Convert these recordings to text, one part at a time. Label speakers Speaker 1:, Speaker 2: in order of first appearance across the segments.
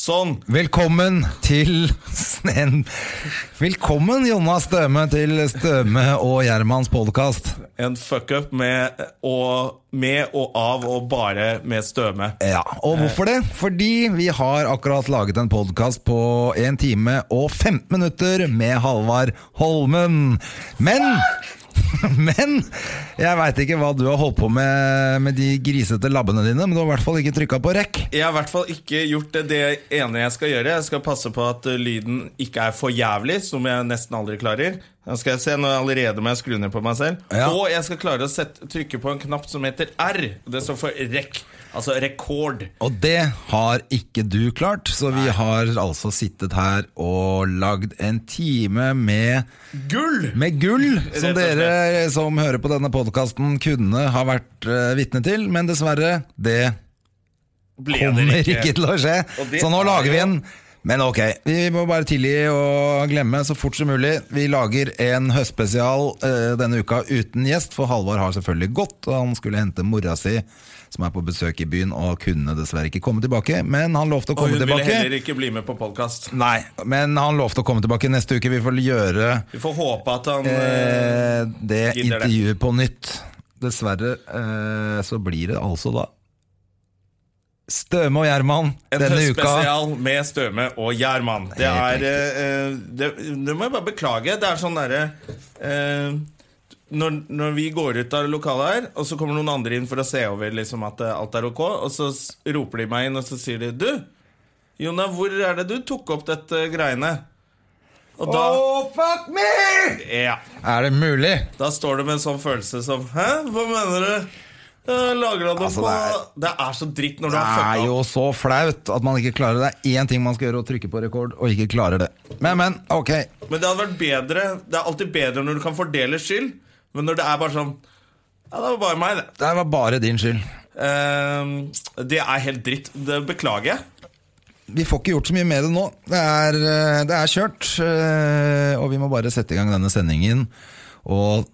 Speaker 1: Sånn.
Speaker 2: Velkommen til en, Velkommen Jonna Støme til Støme og Gjermans podkast.
Speaker 1: En fuckup med, og- med og av og bare med støme.
Speaker 2: Ja, og hvorfor det? Fordi vi har akkurat laget en podkast på 1 time og 15 minutter med Halvard Holmen. Men men jeg veit ikke hva du har holdt på med med de grisete labbene dine, men du har i hvert fall ikke trykka på rekk.
Speaker 1: Jeg har i hvert fall ikke gjort det, det ene jeg skal gjøre. Jeg skal passe på at uh, lyden ikke er for jævlig, som jeg nesten aldri klarer. Nå skal jeg se, nå er jeg allerede må jeg skru ned på meg selv.
Speaker 2: Ja.
Speaker 1: Og jeg skal klare å sette, trykke på en knapp som heter R. Det står for rekk. Altså rekord.
Speaker 2: Og det har ikke du klart, så vi har altså sittet her og lagd en time med
Speaker 1: Gull!
Speaker 2: Med gull, som
Speaker 1: og slett.
Speaker 2: dere som hører på denne podkasten kunne ha vært eh, vitne til, men dessverre, det
Speaker 1: Ble
Speaker 2: kommer ikke til å skje.
Speaker 1: Og det
Speaker 2: Så nå
Speaker 1: er
Speaker 2: lager vi
Speaker 1: jo-
Speaker 2: en. Men ok, vi må bare tilgi og glemme så fort som mulig. Vi lager en høstspesial eh, denne uka uten gjest, for Halvard har selvfølgelig gått. og Han skulle hente mora si, som er på besøk i byen, og kunne dessverre ikke komme tilbake. Men han lovte å
Speaker 1: Og hun
Speaker 2: komme
Speaker 1: ville
Speaker 2: tilbake.
Speaker 1: heller ikke bli med på podkast.
Speaker 2: Nei, men han lovte å komme tilbake neste uke. Vi får gjøre
Speaker 1: Vi får håpe at han eh,
Speaker 2: Eh, det
Speaker 1: Gidder det.
Speaker 2: intervjuet på nytt. Dessverre eh, så blir det altså da Støme og Gjerman
Speaker 1: En
Speaker 2: denne uka.
Speaker 1: høstspesial med Støme og Gjerman. Det
Speaker 2: Helt
Speaker 1: er eh, det, det må jeg bare beklage. Det er sånn derre eh, når, når vi går ut av lokalet her, og så kommer noen andre inn for å se over liksom, at eh, alt er ok, og så s- roper de meg inn, og så sier de Du, Jonna, hvor er det du tok opp dette greiene? Og da
Speaker 2: fuck me!
Speaker 1: Ja.
Speaker 2: Er det mulig?
Speaker 1: Da står du med en sånn følelse som Hæ, hva mener du? Eh, Lager han det
Speaker 2: Altså,
Speaker 1: på
Speaker 2: det
Speaker 1: Det er så dritt når du
Speaker 2: Det
Speaker 1: har
Speaker 2: er
Speaker 1: fucka opp.
Speaker 2: jo så flaut at man ikke klarer det. Det er én ting man skal gjøre, å trykke på rekord, og ikke klarer det. Men, men, ok.
Speaker 1: Men det hadde vært bedre Det er alltid bedre når du kan fordele skyld Men når det er bare sånn Ja, det var bare meg det
Speaker 2: Det var bare din skyld.
Speaker 1: Ehm, Det er helt dritt Det beklager jeg
Speaker 2: Vi får ikke gjort så mye med det nå. Det er, eh, det er kjørt. eh, Og vi må bare sette i gang denne sendingen. Og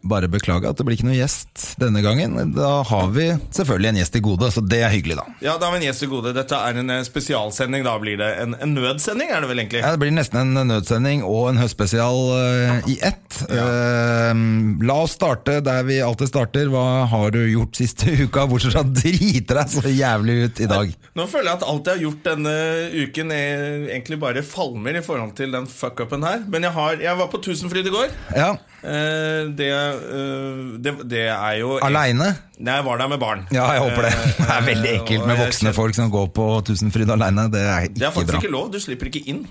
Speaker 2: bare beklage at det blir ikke noe gjest denne gangen. Da har vi selvfølgelig en gjest i gode, så det er hyggelig, da.
Speaker 1: Ja, da har vi en gjest i gode Dette er en eh, spesialsending Da blir det en, en nødsending er det vel egentlig
Speaker 2: Ja, det blir nesten en nødsending og en høstspesial eh, i ett. Eh, La oss starte der vi alltid starter. Hva har du gjort siste uka, bortsett fra å drite deg så jævlig ut i dag?
Speaker 1: Nå føler jeg at alt jeg har gjort denne uken er Egentlig bare falmer i forhold til den fuck-upen her Men jeg, har, jeg var på Tusenfryd i går
Speaker 2: Ja,
Speaker 1: Eh, det, eh, det, det er jo
Speaker 2: Aleine?
Speaker 1: Nei, jeg var der med barn
Speaker 2: Ja, jeg håper det. Det er veldig
Speaker 1: Eh,
Speaker 2: ekkelt
Speaker 1: og
Speaker 2: med
Speaker 1: jeg
Speaker 2: voksne folk som går på Tusenfryd alene. Det er
Speaker 1: Det er
Speaker 2: ikke
Speaker 1: faktisk
Speaker 2: bra.
Speaker 1: ikke lov. Du slipper ikke inn.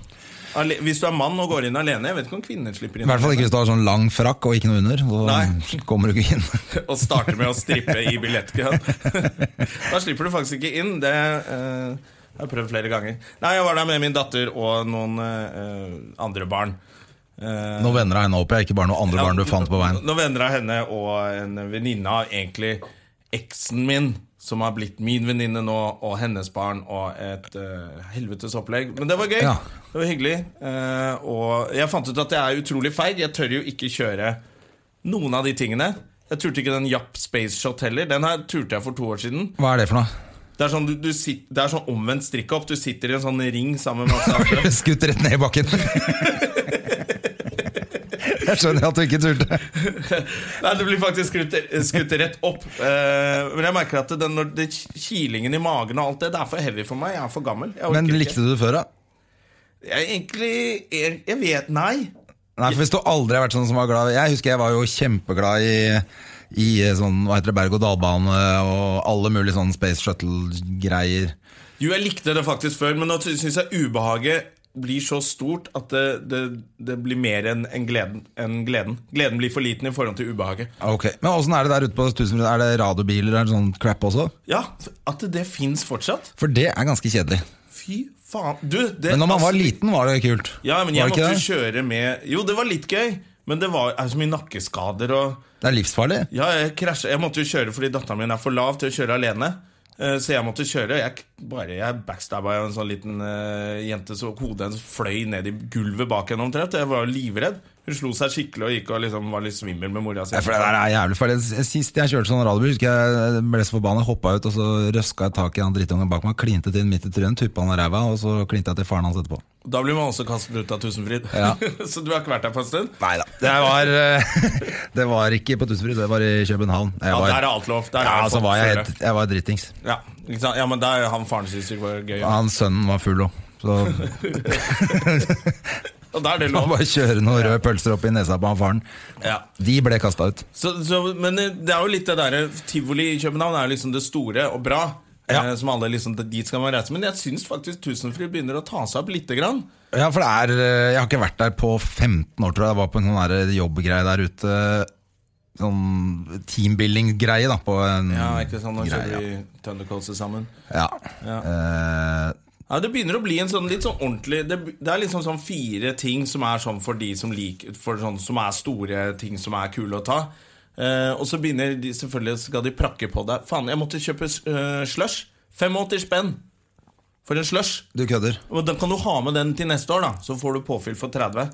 Speaker 1: Ale hvis du er mann og går inn alene. Jeg vet ikke om kvinner slipper
Speaker 2: I
Speaker 1: inn.
Speaker 2: hvert fall ikke hvis du har sånn lang frakk og ikke noe under.
Speaker 1: Nei.
Speaker 2: Så kommer du ikke inn.
Speaker 1: Og starter med å strippe i billettkøen. da slipper du faktisk ikke inn. Det eh, har jeg prøvd flere ganger. Nei, jeg var der med min datter og noen eh, andre barn. Eh,
Speaker 2: Nå vender jeg henne opp, jeg. Ikke bare noen andre barn du fant på veien.
Speaker 1: Nå venner jeg henne og en venninne av egentlig eksen min, som har blitt min venninne nå, og hennes barn, og et eh, helvetes opplegg. Men det var gøy.
Speaker 2: Ja.
Speaker 1: Det var hyggelig. Eh, og jeg fant ut at jeg er utrolig feig. Jeg tør jo ikke kjøre noen av de tingene. Jeg turte ikke den Japp Space Shot heller. Den her turte jeg for to år siden.
Speaker 2: Hva er det for noe?
Speaker 1: Det er sånn, du, du sitt, det er sånn omvendt strikkhopp. Du sitter i en sånn ring sammen med masse andre.
Speaker 2: Skutt rett ned i bakken. Jeg skjønner at du ikke turte.
Speaker 1: Nei, det blir faktisk skutt, skutt rett opp. Eh, men jeg merker at den, når det, kilingen i magen og alt det, det er for heavy for meg. Jeg er for gammel. Jeg
Speaker 2: Men
Speaker 1: orker
Speaker 2: likte du det før, da?
Speaker 1: ikke. Jeg, egentlig jeg, jeg vet Nei.
Speaker 2: Nei, for hvis du aldri har vært sånn som var glad Jeg husker jeg var jo kjempeglad i i eh, sånn, hva heter det, berg-og-dal-bane og alle mulige sånne space shuttle-greier.
Speaker 1: Jo, jeg likte det faktisk før, men nå syns jeg ubehaget blir så stort at det, det, det blir mer enn enn gleden, enn gleden. Gleden blir for liten i forhold til ubehaget.
Speaker 2: Ok, Men åssen er det der ute på Tusenfryd? Er det radiobiler og sånn crap også?
Speaker 1: Ja, at det fins fortsatt.
Speaker 2: For det er ganske kjedelig.
Speaker 1: Fy faen. Du, det,
Speaker 2: Men når man var
Speaker 1: altså-
Speaker 2: liten, var det kult.
Speaker 1: Ja, men
Speaker 2: Var
Speaker 1: jeg
Speaker 2: det ikke
Speaker 1: måtte
Speaker 2: det?
Speaker 1: kjøre med Jo, det var litt gøy, men det var er så mye nakkeskader og
Speaker 2: Det er livsfarlig.
Speaker 1: Ja, jeg krasja. Jeg måtte jo kjøre fordi datteren min er for lav til å kjøre alene. Eh, Så jeg måtte kjøre. Jeg, k- bare, jeg backstabba jo en sånn liten eh, jente så hodet hennes fløy ned i gulvet bak henne omtrent. Jeg var jo livredd. Hun slo seg skikkelig og gikk og liksom var litt svimmel med mora si.
Speaker 2: Ja, for det der er jævlig farlig Sist jeg kjørte sånn radiobil, husker jeg jeg ble så forbanna, hoppa ut, og så røska jeg tak i han drittungen bak meg, klinte til midt i trynet, tuppa han i ræva, og så klinte jeg til faren hans etterpå.
Speaker 1: Da blir man også kastet ut av Tusenfryd.
Speaker 2: Ja.
Speaker 1: så du har ikke vært der på en stund?
Speaker 2: Neida. Det var, eh, det var ikke på Tusenfryd, det var i København. Jeg
Speaker 1: Ja,
Speaker 2: var,
Speaker 1: der er alt lov. Der er
Speaker 2: ja,
Speaker 1: alt
Speaker 2: så
Speaker 1: lov,
Speaker 2: var jeg,
Speaker 1: føler jeg.
Speaker 2: helt, jeg var dritings.
Speaker 1: Ja, ikke sant? ja men der, han faren syns det var gøy.
Speaker 2: Han sønnen var full òg. Så
Speaker 1: Og da er det
Speaker 2: han
Speaker 1: lov.
Speaker 2: bare kjøre noen røde pølser opp i nesa på han faren.
Speaker 1: Ja.
Speaker 2: De ble kasta ut.
Speaker 1: Så, så, men eh, det er jo litt det derre Tivoli i København er jo liksom det store og bra.
Speaker 2: Ja.
Speaker 1: Eh, som alle liksom, dit skal man reise Men jeg syns faktisk Tusenfryd begynner å ta seg opp lite grann.
Speaker 2: Ja, for det er eh, Jeg har ikke vært der på 15 år, tror jeg. Jeg var på en sånn der jobbgreie der ute. Sånn teambuilding-greie, da. På en
Speaker 1: Ja, ikke sant, Nå kjører
Speaker 2: greie,
Speaker 1: vi Thundercoaster sammen.
Speaker 2: ja. Ja.
Speaker 1: Ja.
Speaker 2: Eh,
Speaker 1: Ja, Det begynner å bli en sånn litt sånn ordentlig Det, det er liksom sånn fire ting som er sånn for de som liker For sånn som er store ting som er kule å ta. Eh, og så begynner de selvfølgelig skal de prakke på deg. Faen, jeg måtte kjøpe eh, slush. 85 spenn for en slush.
Speaker 2: du kødder?
Speaker 1: Og den kan du ha med den til neste år, da. Så får du påfyll for 30.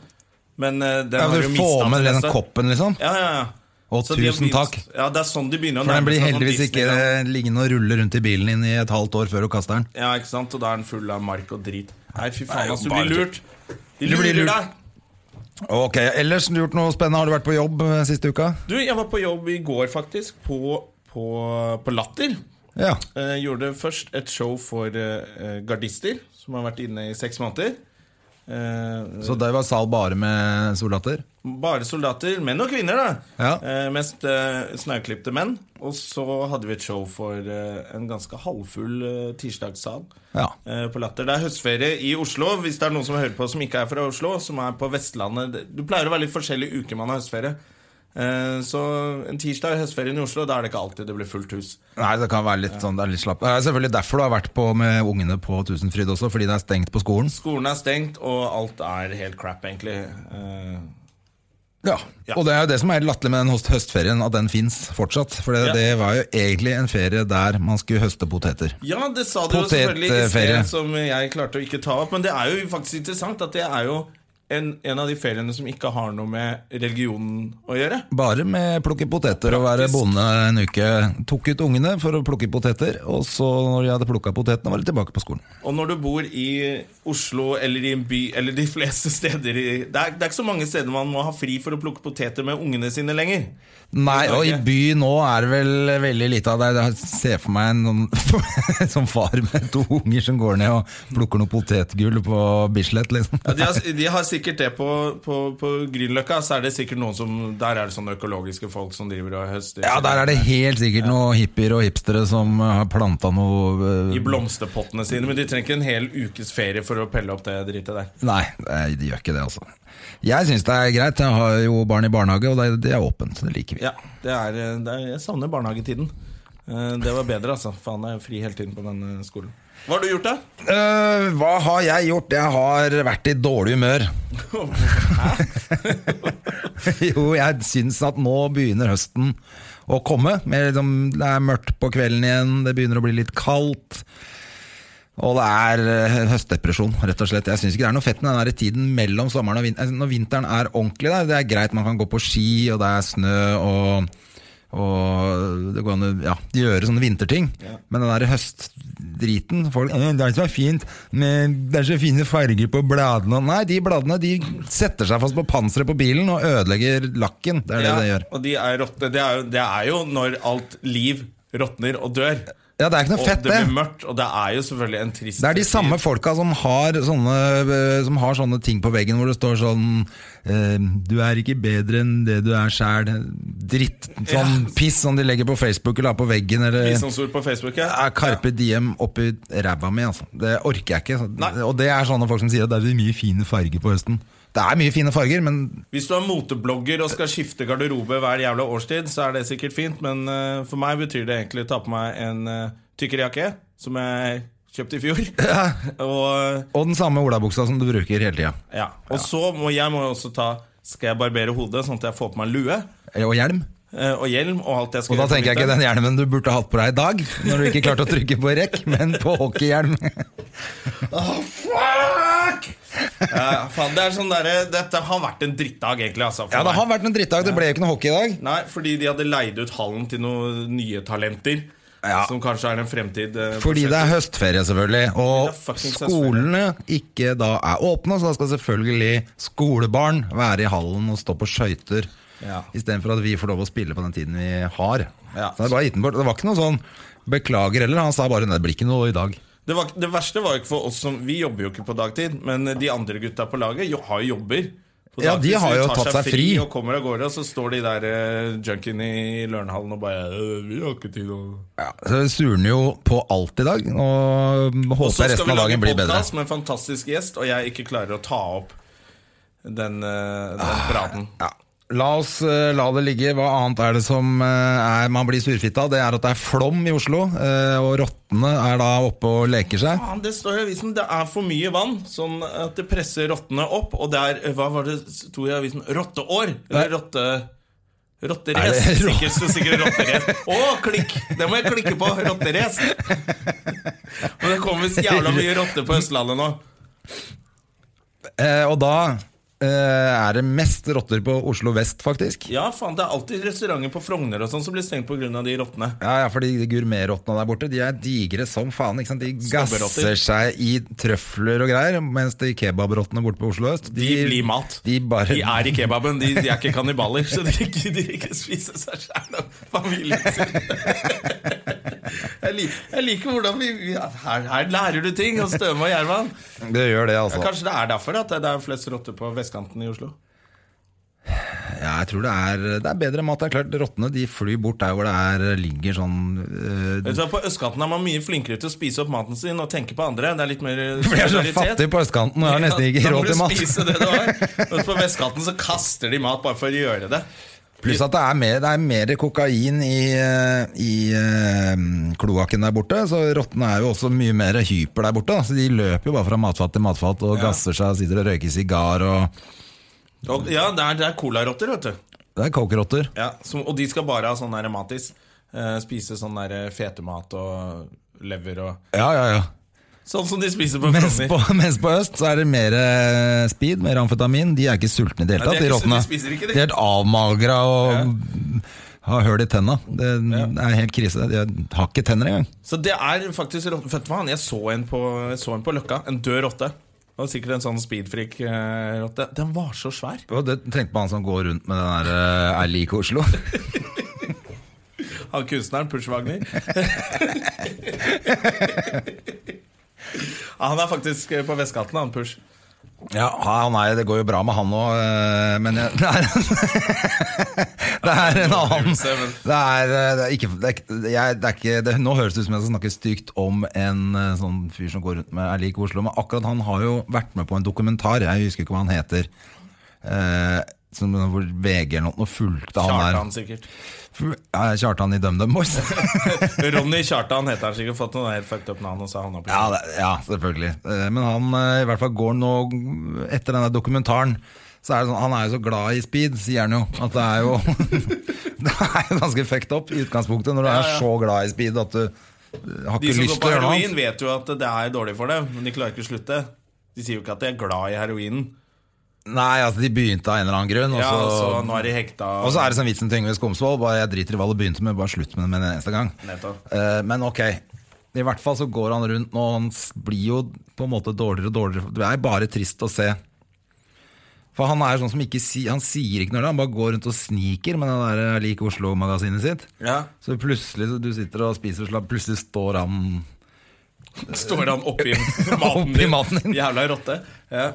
Speaker 1: Men eh, den
Speaker 2: Ja,
Speaker 1: har
Speaker 2: du
Speaker 1: du
Speaker 2: får
Speaker 1: mistet
Speaker 2: med
Speaker 1: til
Speaker 2: den
Speaker 1: neste.
Speaker 2: koppen, liksom?
Speaker 1: Ja, ja, ja.
Speaker 2: Og
Speaker 1: Så de har
Speaker 2: tusen
Speaker 1: begynt-
Speaker 2: takk.
Speaker 1: Ja, det er sånn de begynner å
Speaker 2: For den
Speaker 1: nærme
Speaker 2: blir
Speaker 1: seg sånn
Speaker 2: heldigvis ikke
Speaker 1: Disneyland.
Speaker 2: liggende og ruller rundt i bilen din i et halvt år før du kaster den.
Speaker 1: Ja, ikke sant? Og da er den full av mark og drit. Nei, fy
Speaker 2: Nei,
Speaker 1: faen, altså. Du
Speaker 2: bare
Speaker 1: blir lurt. De
Speaker 2: Du blir
Speaker 1: lurer
Speaker 2: lurt.
Speaker 1: deg.
Speaker 2: Ok, Ellers, du har gjort noe spennende? Har du vært på jobb eh, siste uka?
Speaker 1: Du, jeg var på jobb i går, faktisk. På, på, på Latter.
Speaker 2: Ja.
Speaker 1: Eh, gjorde først et show for eh, eh, gardister, som har vært inne i seks måneder. Eh,
Speaker 2: Så det var sal bare med soldater?
Speaker 1: Bare soldater, menn og kvinner, da.
Speaker 2: Ja.
Speaker 1: Eh, mest eh, snauklipte menn. Og så hadde vi et show for eh, en ganske halvfull eh, tirsdagssal
Speaker 2: Ja.
Speaker 1: eh, på Latter. Det er høstferie i Oslo, hvis det er noen som hører på som ikke er fra Oslo, som er på Vestlandet. Det- Du pleier å være litt forskjellige uker man har høstferie. Eh, så en tirsdag i høstferien i Oslo, da er det ikke alltid det blir fullt hus.
Speaker 2: Nei, det kan være litt sånn, det er litt slapp. Det er selvfølgelig derfor du har vært på med ungene på Tusenfryd også, fordi det er stengt på skolen.
Speaker 1: Skolen er stengt, og alt er helt crap, egentlig. Eh,
Speaker 2: Ja. Og det er jo det som er latterlig med den høst- høstferien, at den fins fortsatt. For det,
Speaker 1: Ja.
Speaker 2: det var jo egentlig en ferie der man skulle høste poteter.
Speaker 1: Ja, det sa du jo selvfølgelig i
Speaker 2: Potetferie.
Speaker 1: sted, som jeg klarte å ikke ta opp. Men det er jo faktisk interessant at det er jo en, en av de feriene som ikke har noe med religionen å gjøre.
Speaker 2: Bare med plukke poteter og være bonde en uke. Tok ut ungene for å plukke poteter, og så når de hadde plukka potetene, var de tilbake på skolen.
Speaker 1: Og når du bor i Oslo eller i en by eller de fleste steder i det er, det er ikke så mange steder man må ha fri for å plukke poteter med ungene sine lenger.
Speaker 2: Nei, og i
Speaker 1: Ok.
Speaker 2: by nå er det vel veldig lite av det. Jeg ser for meg en sånn, som far med to unger som går ned og plukker noe potetgull på Bislett, liksom.
Speaker 1: Ja, de, har, de har sikkert det på, på, på Grünerløkka. Så er det sikkert noen som Der er det sånne økologiske folk som driver og høster.
Speaker 2: Ja, der er det helt sikkert noen hippier og hipstere som har planta noe eh,
Speaker 1: I blomsterpottene sine. Men de trenger ikke en hel ukes ferie for å pelle opp det dritet der.
Speaker 2: Nei, nei, de gjør ikke det, altså. Jeg syns det er greit. Jeg har jo barn i barnehage, og det, det er åpent. Det liker vi.
Speaker 1: Ja, det er, eh, det er, jeg savner barnehagetiden. Eh, Det var bedre, altså. Faen, jeg er fri hele tiden på denne skolen. Hva har du gjort, da?
Speaker 2: Eh, hva har jeg gjort? Jeg har vært i dårlig humør. jo, jeg syns at nå begynner høsten å komme. Mer liksom, det er mørkt på kvelden igjen, det begynner å bli litt kaldt. Og det er eh, høstdepresjon, rett og slett. Jeg syns ikke det er noe fett med den der tiden mellom sommeren og vinteren. Når vinteren er ordentlig der, det er greit, man kan gå på ski, og det er snø, og, og det går an å ja, gjøre sånne vinterting. Men den der høstdriten folk, «Eh, Det er så fint, men det er så fine farger på bladene Nei, de bladene de setter seg fast på panseret på bilen og ødelegger lakken. Det er det det gjør.
Speaker 1: og de er råtne. Det er, jo, det er jo når alt liv råtner og dør.
Speaker 2: Ja, det er ikke noe
Speaker 1: og
Speaker 2: fett,
Speaker 1: det
Speaker 2: det.
Speaker 1: blir mørkt, og det er jo selvfølgelig en trist
Speaker 2: Det er de
Speaker 1: tid.
Speaker 2: samme folka som har sånne, eh, som har sånne ting på veggen hvor det står sånn eh, Du er ikke bedre enn det du er sjæl. Dritt. Sånn piss som de legger på Facebook eller har på veggen. Eller,
Speaker 1: visdomsord på Facebook. Ja.
Speaker 2: er Carpe Diem oppi ræva mi, altså. Det orker jeg ikke. Så-
Speaker 1: Nei.
Speaker 2: Og det er sånne folk som sier at det er så mye fine farger på høsten. Det er mye fine farger, men
Speaker 1: Hvis du er moteblogger og skal skifte garderobe hver jævla årstid, så er det sikkert fint, men eh, for meg betyr det egentlig å ta på meg en eh, tykkere jakke, som jeg kjøpte i fjor. og
Speaker 2: Og den samme olabuksa som du bruker hele tida.
Speaker 1: ja. og så må jeg må jo også ta Skal jeg barbere hodet, sånn at jeg får på meg lue
Speaker 2: Og hjelm.
Speaker 1: eh, og hjelm og alt jeg skal
Speaker 2: Og da
Speaker 1: gjøre på
Speaker 2: tenker jeg ikke
Speaker 1: vinteren?
Speaker 2: den hjelmen du burde hatt på deg i dag, når du ikke klarte å trykke på rekk, men på hockeyhjelm.
Speaker 1: Fuck! Ja, faen, det er sånn derre- Dette har vært en drittdag, egentlig. Altså, for
Speaker 2: Ja, det
Speaker 1: meg.
Speaker 2: har vært en drittdag. Det ble jo ikke noe hockey i dag.
Speaker 1: Nei, fordi de hadde leid ut hallen til noen nye talenter.
Speaker 2: Ja.
Speaker 1: Som kanskje er en fremtid. eh,
Speaker 2: Fordi det er
Speaker 1: prosjekt.
Speaker 2: høstferie, selvfølgelig. Og
Speaker 1: Fordi det er fuckings
Speaker 2: skolene ikke da er åpne, så da skal selvfølgelig skolebarn være i hallen og stå på skøyter.
Speaker 1: Ja.
Speaker 2: Istedenfor at vi får lov å spille på den tiden vi har.
Speaker 1: Ja.
Speaker 2: Så det er bare gitt den bort. Det var ikke noe sånn 'beklager' heller. Han sa bare 'nei, det blir ikke noe i dag'.
Speaker 1: det, var, det verste var jo ikke for oss som Vi jobber jo ikke på dagtid, men de andre gutta på laget jo, har jo jobber. på
Speaker 2: Ja, de
Speaker 1: dagtid, så
Speaker 2: har jo
Speaker 1: tar
Speaker 2: tatt seg fri.
Speaker 1: Og kommer av gårde, og så står de der uh, junkiene i Lørenhallen og bare «Øh, Vi har ikke tid å
Speaker 2: Ja, så det surner jo på alt i dag, og
Speaker 1: Så
Speaker 2: håper
Speaker 1: skal
Speaker 2: resten
Speaker 1: vi
Speaker 2: av
Speaker 1: lage
Speaker 2: dagen blir bedre.
Speaker 1: podcast med en fantastisk gjest, og jeg ikke klarer å ta opp den, eh, den
Speaker 2: Ah.
Speaker 1: praten.
Speaker 2: Ja. La oss eh, la det ligge. Hva annet er det som eh, er, man blir surfitt av? Det er at det er flom i Oslo, eh, og rottene er da oppe og leker seg.
Speaker 1: Faen, det står i avisen. Det er for mye vann, sånn at det presser rottene opp. Og det er, hva var det sto i avisen? Rotteår? Eller rotte... Rotterace.
Speaker 2: Er det-
Speaker 1: Sikkert sto sikkert rotterace. Å, klikk! Det må jeg klikke på. Rotterace. Og det kommer visst jævla mye rotter på Østlandet nå.
Speaker 2: Eh, og da eh, er det mest rotter på Oslo vest, faktisk.
Speaker 1: Ja, faen, det er alltid restauranter på Frogner og sånn som blir stengt pga. de rottene.
Speaker 2: Ja, ja, fordi de gourmetrottene der borte De er digre som faen. ikke sant? De
Speaker 1: Snobberotter.
Speaker 2: gasser seg i trøfler og greier, mens de kebabrottene borte på Oslo øst
Speaker 1: De blir mat.
Speaker 2: De bare
Speaker 1: De er i kebaben. De, de er ikke kannibaler, så de gidder ikke spise seg sjæl og familien sin. Jeg, lik, jeg liker hvordan vi vi- her, her lærer du ting hos Støme og Gjerman.
Speaker 2: Det gjør det, altså.
Speaker 1: Kanskje det er derfor at det er flest rotter på vestkanten i Oslo?
Speaker 2: Ja, jeg tror det er, det er bedre mat. Det er klart, Rottene de flyr bort der hvor det er, ligger sånn eh,
Speaker 1: Vet du hva, På østkanten er man mye flinkere til å spise opp maten sin og tenke på andre. Det er litt mer
Speaker 2: Vi er så
Speaker 1: solidaritet.
Speaker 2: fattige på østkanten og har nesten ikke
Speaker 1: Ja,
Speaker 2: råd til
Speaker 1: Da må du
Speaker 2: mat.
Speaker 1: spise det du har. Mens på vestkanten så kaster de mat bare for å gjøre det.
Speaker 2: Pluss at det er mer, det er mer kokain i, eh, i eh, kloakken der borte. Så rottene er jo også mye mer hyper der borte. Da. Så de løper jo bare fra matfat til matfat og
Speaker 1: Ja.
Speaker 2: gasser seg og sitter og røyker sigar og
Speaker 1: Og, ja, det er, det er colarotter, vet du.
Speaker 2: Det er cokerotter.
Speaker 1: Ja, som, og de skal bare ha sånn der matis. Eh, spise sånn der fetemat og lever og
Speaker 2: Ja, ja, ja.
Speaker 1: Sånn som de spiser på
Speaker 2: Mens
Speaker 1: Frogner.
Speaker 2: på, mens på øst så er det mer eh, speed, mer amfetamin. De er ikke sultne i det hele
Speaker 1: Nei, de
Speaker 2: tatt, de
Speaker 1: er ikke-
Speaker 2: rottene.
Speaker 1: de spiser ikke det.
Speaker 2: De er helt avmagra og har høl i tenna. Det er helt krise. De har ikke tenner engang.
Speaker 1: Så det er faktisk rotte- Vet du hva, jeg så en på, jeg så en på Løkka. En død rotte. Det var sikkert en sånn speedfreak-rotte. Den var så svær.
Speaker 2: Og det trengte man som går rundt med den der eh, Er lik Oslo.
Speaker 1: Han kunstneren, Push Wagner. Ja, han er faktisk eh, på vestkanten, han Push.
Speaker 2: Ja, ah, nei, det går jo bra med han òg, men jeg, det er Det er en annen
Speaker 1: overdrivelse, men-
Speaker 2: Det er, eh, det er ikke, det er, ikke- jeg, det er ikke det, Nå høres det ut som jeg skal snakke stygt om en eh, sånn fyr som går rundt med er lik Oslo, men akkurat han har jo vært med på en dokumentar, jeg husker ikke hva han heter. Eh, som hvor VG eller noe fulgte han
Speaker 1: Kjartan,
Speaker 2: der.
Speaker 1: sikkert.
Speaker 2: Fu- Ja, Kjartan i DumDum Boys.
Speaker 1: Ronny Kjartan heter han sikkert. Fått noen helt fucked up navn, og så havna på
Speaker 2: Ja, det, ja selvfølgelig. Eh, Men han eh, i hvert fall går nå etter denne dokumentaren. Så er det sånn, han er jo så glad i speed, sier han jo. At det er jo Det er jo ganske fucked up i utgangspunktet når du er så glad i speed at du eh, har
Speaker 1: De
Speaker 2: ikke
Speaker 1: som
Speaker 2: lyst
Speaker 1: går på
Speaker 2: til å gjøre noe
Speaker 1: heroin,
Speaker 2: annet.
Speaker 1: vet jo at det er dårlig for dem, men de klarer ikke å slutte. De sier jo ikke at de er glad i heroinen.
Speaker 2: Nei, altså de begynte av en eller annen grunn, og
Speaker 1: Ja, og så
Speaker 2: så
Speaker 1: nå er de hekta.
Speaker 2: og så er det sånn vitsen til Yngve Skomsvold. Bare jeg driter i hva det begynte med, bare slutt med det med en eneste gang.
Speaker 1: Nettopp.
Speaker 2: Eh, Men ok, i hvert fall så går han rundt nå, og han s- blir jo på en måte dårligere og dårligere. Det er bare trist å se. For han er sånn som ikke si, Han sier ikke noe, han bare går rundt og sniker med det der Lik Oslo-magasinet sitt.
Speaker 1: Ja.
Speaker 2: Så plutselig så du sitter og spiser og slapper, plutselig står han
Speaker 1: Står han oppi maten
Speaker 2: Oppi
Speaker 1: din?
Speaker 2: maten din.
Speaker 1: Jævla rotte. Ja.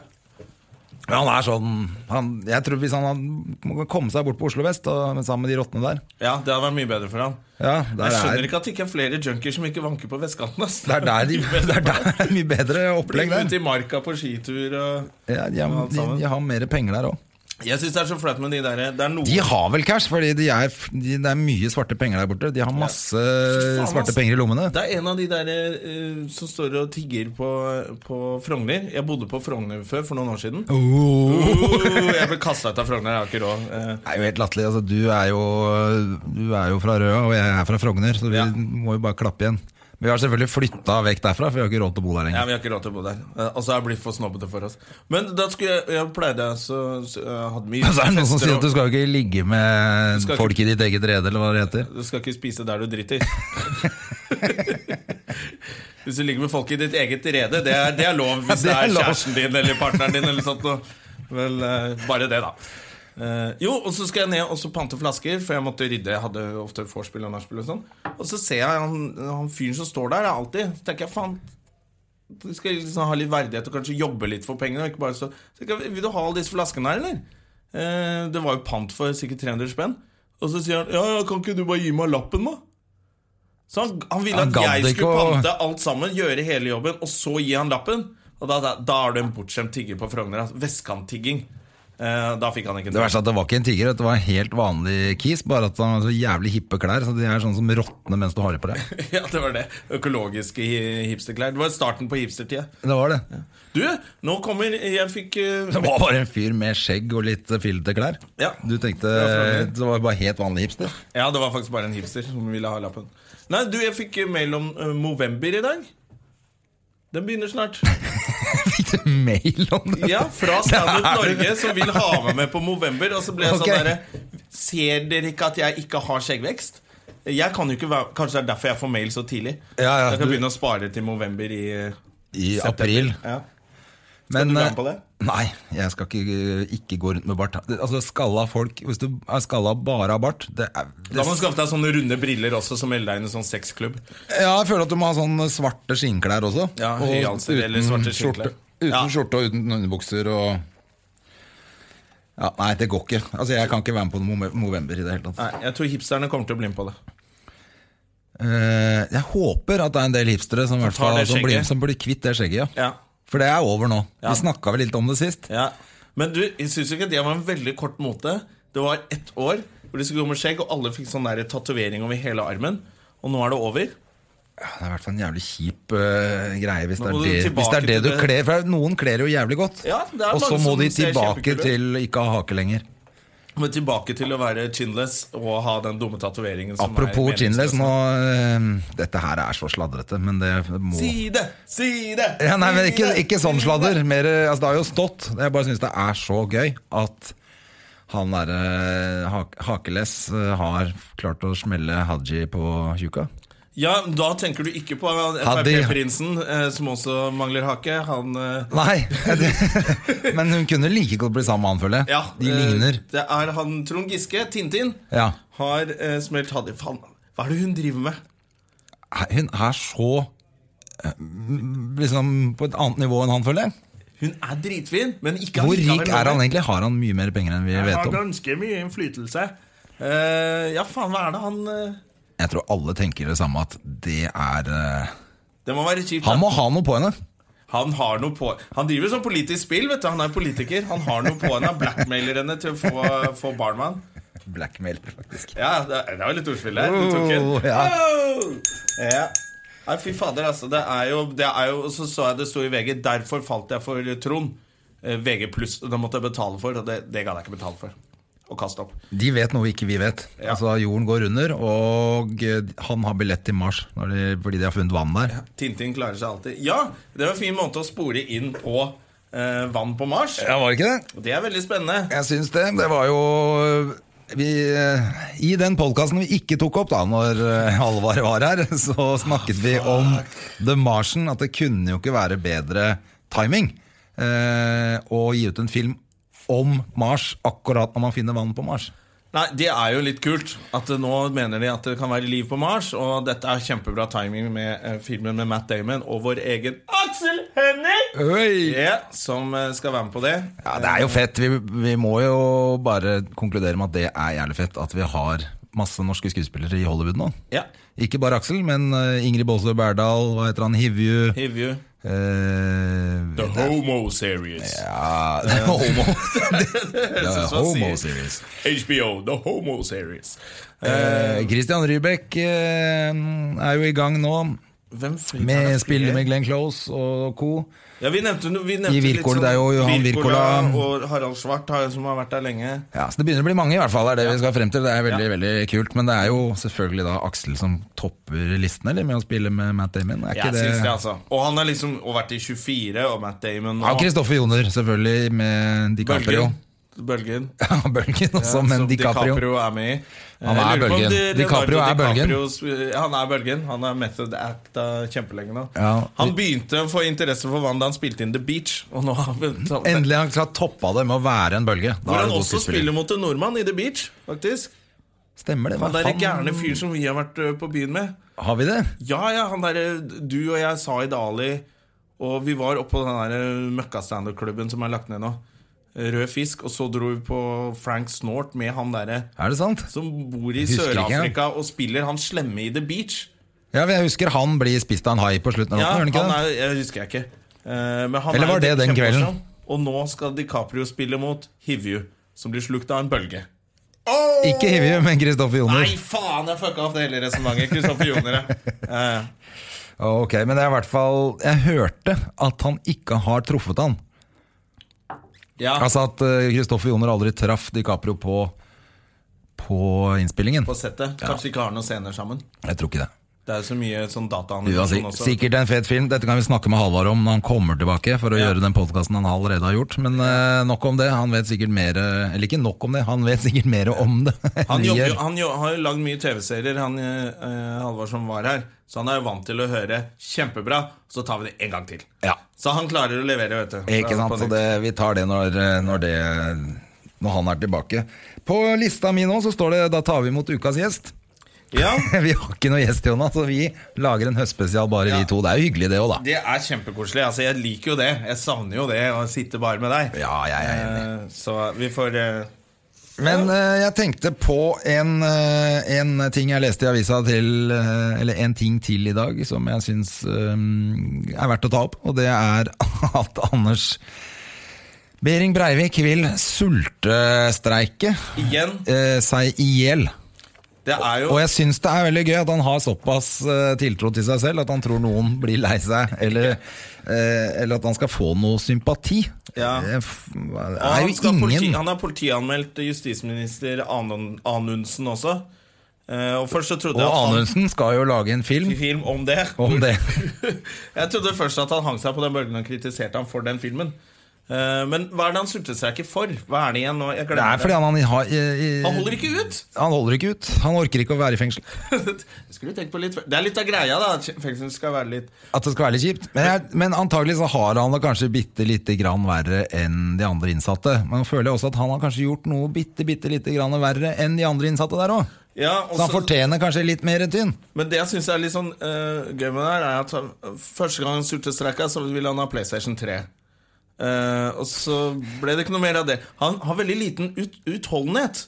Speaker 2: Men han er sånn han, Jeg tror hvis han hadde- må komme seg bort på Oslo vest og, men sammen med de rottene der
Speaker 1: ja, det hadde vært mye bedre for han.
Speaker 2: ja, der
Speaker 1: Jeg skjønner
Speaker 2: er,
Speaker 1: ikke at det ikke er flere junkier som ikke vanker på vestkanten. ass.
Speaker 2: Det er der de, det er der det er mye bedre
Speaker 1: Bli
Speaker 2: opplegg.
Speaker 1: med
Speaker 2: der.
Speaker 1: ut i marka på skitur og
Speaker 2: Ja, de, har- de, de har mer penger der òg.
Speaker 1: Jeg syns det er så flaut med de derre Det er noen
Speaker 2: De har vel cash, fordi de er, de, det er mye svarte penger der borte. De har masse
Speaker 1: Fy faen,
Speaker 2: svarte
Speaker 1: ass.
Speaker 2: penger i lommene.
Speaker 1: Det er en av de der eh, som står og tigger på, på Frogner. Jeg bodde på Frogner før, for noen år siden. Oh, jeg ble kasta ut av Frogner, jeg har ikke råd. Eh,
Speaker 2: Det er jo helt latterlig. Altså, du, er jo, du er jo fra Røa, og jeg er fra Frogner, så vi
Speaker 1: Ja.
Speaker 2: må jo bare klappe igjen. Men vi har selvfølgelig flytta vekk derfra, for vi har ikke råd til å bo der
Speaker 1: Ja,
Speaker 2: lenger.
Speaker 1: Vi har ikke råd til å bo der. Eh, Og så er det blitt for snobbete for oss. Men da skulle jeg Jeg pleide så, så jeg hadde mye
Speaker 2: Så Altså, er det noen som
Speaker 1: fester
Speaker 2: sier
Speaker 1: og-
Speaker 2: at du skal jo ikke ligge med
Speaker 1: skal ikke-
Speaker 2: folk i ditt eget rede, eller hva det heter.
Speaker 1: Du skal ikke spise der du driter. hvis du ligger med folk i ditt eget rede, det er, det er lov hvis det
Speaker 2: Det
Speaker 1: er,
Speaker 2: er lov.
Speaker 1: kjæresten din eller partneren din. eller sånt. noe. Vel, eh, bare det, da. Eh, jo, og så skal jeg ned og så pante flasker, for jeg måtte rydde. Jeg hadde ofte vorspiel og nachspiel og sånn. Og så ser jeg han, han fyren som står der, da, alltid. Så tenker jeg, faen du skal liksom ha litt verdighet og kanskje jobbe litt for pengene. og Ikke bare så, så tenker jeg, vil du ha alle disse flaskene her, eller? Eh, det var jo pant for sikkert 300 spenn. Og så sier han ja, ja, kan ikke du bare gi meg lappen, da? Så han, han ville
Speaker 2: Han
Speaker 1: at
Speaker 2: gadd
Speaker 1: jeg
Speaker 2: ikke
Speaker 1: skulle
Speaker 2: å-
Speaker 1: pante alt sammen, gjøre hele jobben, og så gi han lappen. Og da, da, da er du en bortskjemt tigger på Frogner. altså. Vestkanttigging. Eh, da fikk han ikke
Speaker 2: Det verste er at det var ikke en tiger, det var en helt vanlig kis, bare at han har så jævlig hippe klær, så de er sånn som råtner mens du har det på deg.
Speaker 1: ja, det var det. Økologiske hi- hipsterklær. Det var starten på hipstertida.
Speaker 2: Det var det.
Speaker 1: Du, nå kommer Jeg fikk eh,
Speaker 2: Det var bare en fyr med skjegg og litt fillete klær.
Speaker 1: Ja.
Speaker 2: Du tenkte
Speaker 1: Frogner.
Speaker 2: det var bare helt vanlig hipster.
Speaker 1: Ja, det var faktisk bare en hipster som ville ha lappen. Nei, du, jeg fikk mail om eh, Movember i dag. Den begynner snart.
Speaker 2: Fikk du mail om det?
Speaker 1: Ja, Fra Standup Norge, som vil ha meg med på Movember. Og så ble jeg
Speaker 2: Ok.
Speaker 1: sånn derre Ser dere ikke at jeg ikke har skjeggvekst? Jeg kan jo ikke være, Kanskje det er derfor jeg får mail så tidlig.
Speaker 2: Ja, ja,
Speaker 1: jeg kan
Speaker 2: du-
Speaker 1: begynne å spare til Movember i
Speaker 2: I
Speaker 1: september.
Speaker 2: april.
Speaker 1: Ja.
Speaker 2: Men,
Speaker 1: du være med på det?
Speaker 2: eh, Nei, jeg skal ikke, ikke gå rundt med bart. Det- Altså, Skalla folk Hvis du er skalla bare av bart det er,
Speaker 1: Da
Speaker 2: det,
Speaker 1: må du skaffe deg sånne runde briller også, som melder deg inn i en sånn sexklubb.
Speaker 2: Ja, Jeg føler at du må ha sånne svarte skinnklær også.
Speaker 1: Ja,
Speaker 2: Og
Speaker 1: høyhalser eller svarte skinnklær.
Speaker 2: Skjorte, uten
Speaker 1: Ja.
Speaker 2: skjorte og uten underbukser og ja, Nei, det går ikke. Altså, Jeg kan ikke være med på noe Mo- Movember i det hele tatt.
Speaker 1: Nei, Jeg tror hipsterne kommer til å bli med på det.
Speaker 2: Eh, jeg håper at det er en del hipstere som, i hvert
Speaker 1: tar
Speaker 2: fall,
Speaker 1: det
Speaker 2: som, blir,
Speaker 1: skjegget.
Speaker 2: som blir kvitt det skjegget. ja.
Speaker 1: Ja
Speaker 2: For det er over nå.
Speaker 1: Ja.
Speaker 2: Vi snakka vel litt om det sist.
Speaker 1: Ja. Men du, jeg syns ikke at det var en veldig kort mote. Det var ett år hvor det skulle gå med skjegg, og alle fikk sånn der tatovering over hele armen. Og nå er det over.
Speaker 2: Det er i hvert fall en jævlig kjip øh, greie hvis
Speaker 1: Nå
Speaker 2: det, er
Speaker 1: må du
Speaker 2: det, hvis det
Speaker 1: tilbake
Speaker 2: er det
Speaker 1: til
Speaker 2: du
Speaker 1: det.
Speaker 2: kler. For noen kler jo jævlig godt,
Speaker 1: Ja, det er
Speaker 2: og så
Speaker 1: mange
Speaker 2: må
Speaker 1: som
Speaker 2: de
Speaker 1: ser
Speaker 2: tilbake
Speaker 1: kjempekule ut.
Speaker 2: til ikke ha hake lenger.
Speaker 1: Men tilbake til å være chinless og ha den dumme tatoveringen. som er
Speaker 2: Apropos
Speaker 1: meningsløs.
Speaker 2: chinless, nå øh, Dette her er så sladrete, men det må
Speaker 1: Si det! Si det!
Speaker 2: ja, Nei, men ikke,
Speaker 1: si det,
Speaker 2: ikke
Speaker 1: si
Speaker 2: sånn
Speaker 1: det.
Speaker 2: sladder. Mer, øh, altså, det har jo stått. Jeg bare syns det er så gøy at han derre eh, Hakeless øh, har klart å smelle Haji på tjuka.
Speaker 1: Ja, da tenker du ikke på
Speaker 2: Hadde-
Speaker 1: Frp-prinsen, eh, som også mangler hake. Han eh,
Speaker 2: Nei, det- men hun kunne like godt bli sammen med han, føler jeg.
Speaker 1: Ja.
Speaker 2: De
Speaker 1: eh,
Speaker 2: ligner.
Speaker 1: Det er han Trond Giske, Tintin,
Speaker 2: Ja.
Speaker 1: har eh, smelt Hadi. Faen, hva er det hun driver med?
Speaker 2: Hun er så eh, liksom på et annet nivå enn han, føler jeg.
Speaker 1: Hun er dritfin, men ikke
Speaker 2: Hvor
Speaker 1: allikevel
Speaker 2: rik er han
Speaker 1: noe.
Speaker 2: egentlig? Har han mye mer penger enn vi
Speaker 1: Han
Speaker 2: vet
Speaker 1: har
Speaker 2: om?
Speaker 1: ganske mye innflytelse. Eh, ja, faen, hva er det han eh,
Speaker 2: Jeg tror alle tenker det samme, at det er eh,
Speaker 1: Det må være kjipt.
Speaker 2: Han
Speaker 1: da.
Speaker 2: må ha noe på henne!
Speaker 1: han har noe på Han driver sånn politisk spill, vet du. Han er politiker. Han har noe på henne. Han blackmailer henne til å få, få barn med han.
Speaker 2: Blackmail, faktisk.
Speaker 1: Ja, det, det var litt ordspill der. Du tok
Speaker 2: Oh,
Speaker 1: en.
Speaker 2: ja.
Speaker 1: Oh! Ja. Nei, fy fader, altså. Det er jo, det er jo Så så jeg det sto i VG. Derfor falt jeg for Trond. Eh, VG pluss. Det måtte jeg betale for, og det, det gadd jeg ikke betale for. Å kaste opp.
Speaker 2: De vet noe ikke vi vet.
Speaker 1: Ja.
Speaker 2: Altså Jorden går under, og eh, han har billett til Mars når de, fordi de har funnet vann der.
Speaker 1: Tintin klarer seg alltid. Ja, det var en fin måte å spore inn på eh, vann på Mars.
Speaker 2: Ja, var det ikke det?
Speaker 1: Og Det er veldig spennende.
Speaker 2: Jeg syns det. Det var jo eh, vi, I den podkasten vi ikke tok opp da når eh, Halvard var her, så snakket vi om The Martian. At det kunne jo ikke være bedre timing eh, å gi ut en film om Mars akkurat når man finner vann på Mars.
Speaker 1: Nei, Det er jo litt kult. At eh, Nå mener de at det kan være liv på Mars. Og dette er kjempebra timing med eh, filmen med Matt Damon og vår egen Aksel Hennie! Ja, som eh, skal være med på det.
Speaker 2: Ja, det er jo fett. Vi, vi må jo bare konkludere med at det er jævlig fett at vi har masse norske skuespillere i Hollywood nå.
Speaker 1: Ja.
Speaker 2: Ikke bare Aksel, men eh, Ingrid Baasø Berdal, hva heter han, Hivju
Speaker 1: Hivju.
Speaker 2: eh,
Speaker 1: The Homo Series.
Speaker 2: Ja, det er homo.
Speaker 1: Jeg
Speaker 2: Det
Speaker 1: synes
Speaker 2: er
Speaker 1: man
Speaker 2: homo
Speaker 1: sier
Speaker 2: series.
Speaker 1: HBO, The Homo Series.
Speaker 2: Eh, Christian Rybek eh, er jo i gang nå
Speaker 1: Hvem flyr- er
Speaker 2: med
Speaker 1: det
Speaker 2: spillet
Speaker 1: flere?
Speaker 2: med Glenn Close og co.
Speaker 1: Ja, vi nevnte, no- vi nevnte
Speaker 2: I
Speaker 1: litt
Speaker 2: Wirkola,
Speaker 1: sånn-
Speaker 2: det er jo Johan Wirkola.
Speaker 1: Og Harald Svart, har- som har vært der lenge.
Speaker 2: Ja, så Det begynner å bli mange, i hvert fall. er det vi skal frem til. Det er veldig veldig kult. Men det er jo selvfølgelig da Aksel som topper listen eller, med å spille med Matt Damon. Er
Speaker 1: Jeg
Speaker 2: ikke det?
Speaker 1: syns det, altså. Og han har liksom og vært i 24, og Matt Damon
Speaker 2: Ja,
Speaker 1: nå.
Speaker 2: og Kristoffer Joner, selvfølgelig, med DiCaprio.
Speaker 1: Bølgen. Bølgen.
Speaker 2: Ja, Bølgen også,
Speaker 1: Ja,
Speaker 2: men
Speaker 1: som
Speaker 2: DiCaprio.
Speaker 1: er med i.
Speaker 2: Han er
Speaker 1: Jeg lurer på om
Speaker 2: bølgen.
Speaker 1: det-
Speaker 2: DiCaprio er
Speaker 1: Leonardo
Speaker 2: bølgen.
Speaker 1: DiCaprios- Han er bølgen. Han er method acta kjempelenge nå.
Speaker 2: Ja.
Speaker 1: Han begynte å få interesse for vann da han spilte inn The Beach. Og nå har han så-
Speaker 2: Endelig har han klart toppa det med å være en bølge. Da
Speaker 1: Hvor
Speaker 2: er
Speaker 1: han
Speaker 2: det god
Speaker 1: også spiller
Speaker 2: skuespiller.
Speaker 1: mot en nordmann i The Beach, faktisk.
Speaker 2: Stemmer det?
Speaker 1: Han
Speaker 2: hva
Speaker 1: derre
Speaker 2: faen?
Speaker 1: gærne fyr som vi har vært ø, på byen med.
Speaker 2: Har vi det?
Speaker 1: Ja, ja, han derre du og jeg sa i Dali, og vi var oppå den der møkkastanderklubben som er lagt ned nå. Rød fisk, og så dro vi på Frank Snort med han eh, derre
Speaker 2: Er det sant?
Speaker 1: som bor i
Speaker 2: Husker ikke,
Speaker 1: Sør-Afrika og spiller han slemme i The Beach.
Speaker 2: Ja, men Jeg husker han blir spist av en hai på slutten av
Speaker 1: Ja,
Speaker 2: låten. gjør han ikke
Speaker 1: han
Speaker 2: det?
Speaker 1: er, jeg husker jeg ikke. Eh, men han
Speaker 2: Eller
Speaker 1: er jo
Speaker 2: var det den
Speaker 1: kjempemorsom.
Speaker 2: kvelden?
Speaker 1: Og nå skal DiCaprio spille mot Hivju, som blir slukt av en bølge.
Speaker 2: Ikke Hivju, men Kristoffer Joner.
Speaker 1: Nei, faen! Jeg fucka opp det hele resonnementet. Kristoffer Joner, ja. Eh,
Speaker 2: Ok, Men det er i hvert fall Jeg hørte at han ikke har truffet han.
Speaker 1: ja.
Speaker 2: Altså at eh, Kristoffer Joner aldri traff DiCaprio på På innspillingen.
Speaker 1: På settet. Kanskje de ikke har noen scener sammen.
Speaker 2: Jeg tror ikke det.
Speaker 1: Det er jo så mye sånn
Speaker 2: Uansett,
Speaker 1: dataanimasjon også.
Speaker 2: sikkert en fet film. Dette kan vi snakke med Halvard om når han kommer tilbake. For å
Speaker 1: Ja.
Speaker 2: gjøre den podkasten han allerede har gjort. Men eh, nok om det. Han vet sikkert mer eh, Eller ikke nok om det, han vet sikkert mer om det. enn
Speaker 1: Han,
Speaker 2: vi
Speaker 1: jobber, jo-
Speaker 2: gjør.
Speaker 1: han jo, har jo lagd mye TV-serier, han eh, Halvard som var her. Så han er jo vant til å høre 'kjempebra', så tar vi det en gang til.
Speaker 2: Ja.
Speaker 1: Så han klarer å levere, vet du.
Speaker 2: Ikke sant,
Speaker 1: På
Speaker 2: så
Speaker 1: nytt.
Speaker 2: det, vi tar det når, eh, når det Når han er tilbake. På lista mi nå så står det 'Da tar vi imot ukas gjest'.
Speaker 1: Ja,
Speaker 2: Vi har ikke noe gjest, Jonas, så vi lager en høstspesial bare vi
Speaker 1: Ja.
Speaker 2: to. Det er jo hyggelig, det òg, da.
Speaker 1: det er kjempekoselig. Altså, jeg liker jo det. Jeg savner jo det å sitte bare med deg.
Speaker 2: Ja, jeg er enig.
Speaker 1: Eh, Så vi får eh,
Speaker 2: Men eh, jeg tenkte på en, eh, en ting jeg leste i avisa til eh, Eller en ting til i dag som jeg syns eh, er verdt å ta opp, og det er at Anders Behring Breivik vil sultestreike
Speaker 1: igjen
Speaker 2: eh, seg i hjel.
Speaker 1: Det er jo
Speaker 2: Og jeg syns det er veldig gøy at han har såpass eh, tiltro til seg selv at han tror noen blir lei seg, eller, eh, eller at han skal få noe sympati.
Speaker 1: Ja.
Speaker 2: Det f-
Speaker 1: Og
Speaker 2: er
Speaker 1: han,
Speaker 2: jo
Speaker 1: skal
Speaker 2: ingen
Speaker 1: politi, han er politianmeldt justisminister Anun- Anundsen også. Eh, Og først så
Speaker 2: Og
Speaker 1: trodde jeg at han
Speaker 2: Anundsen skal jo lage en film
Speaker 1: film om det.
Speaker 2: om det.
Speaker 1: Jeg trodde først at han hang seg på den bølgen og kritiserte ham for den filmen. Eh, Men hva er det han sultestreiker for? Hva er det igjen nå? Jeg
Speaker 2: Det er
Speaker 1: glemmer
Speaker 2: fordi
Speaker 1: det.
Speaker 2: han, han, har- eh, i- i-
Speaker 1: Han holder ikke ut!
Speaker 2: han holder ikke ut. Han orker ikke å være i fengsel.
Speaker 1: Det skulle du tenke på litt før. Det er litt av greia, da. at Fengsel skal være litt
Speaker 2: At det skal være litt kjipt. Men, jeg, men antagelig så har han det kanskje bitte lite grann verre enn de andre innsatte. Men jeg føler også at han har kanskje gjort noe bitte, bitte lite grann verre enn de andre innsatte der òg.
Speaker 1: Ja, og
Speaker 2: Så han
Speaker 1: så-
Speaker 2: fortjener kanskje litt mer tynn.
Speaker 1: Men det jeg syns er litt sånn eh, gøy med det her, er at han, første gang han sultestreika, så ville han ha PlayStation 3. Eh, og så ble det ikke noe mer av det. Han har veldig liten ut, utholdenhet.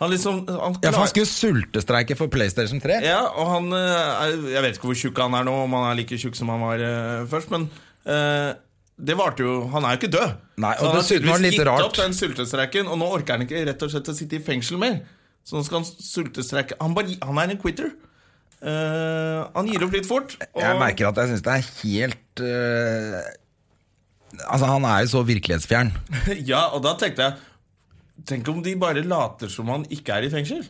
Speaker 1: Han liksom han
Speaker 2: Ja, for han
Speaker 1: klarer-
Speaker 2: skulle sultestreike for PlayStation 3.
Speaker 1: ja, og han eh, er, Jeg vet ikke hvor tjukk han er nå, om han er like tjukk som han var eh, først, men eh, det varte jo Han er jo ikke død.
Speaker 2: Nei, og
Speaker 1: så han har
Speaker 2: dessuten var det
Speaker 1: tydeligvis
Speaker 2: litt
Speaker 1: gitt
Speaker 2: rart.
Speaker 1: opp den sultestreiken, og nå orker han ikke rett og slett å sitte i fengsel mer. Så nå skal han sultestreike. Han, bare, han er en quitter. Eh, han gir opp litt fort. og-
Speaker 2: Jeg merker at jeg syns det er helt øh, Altså, han er jo så virkelighetsfjern.
Speaker 1: Ja, og da tenkte jeg Tenk om de bare later som han ikke er i fengsel?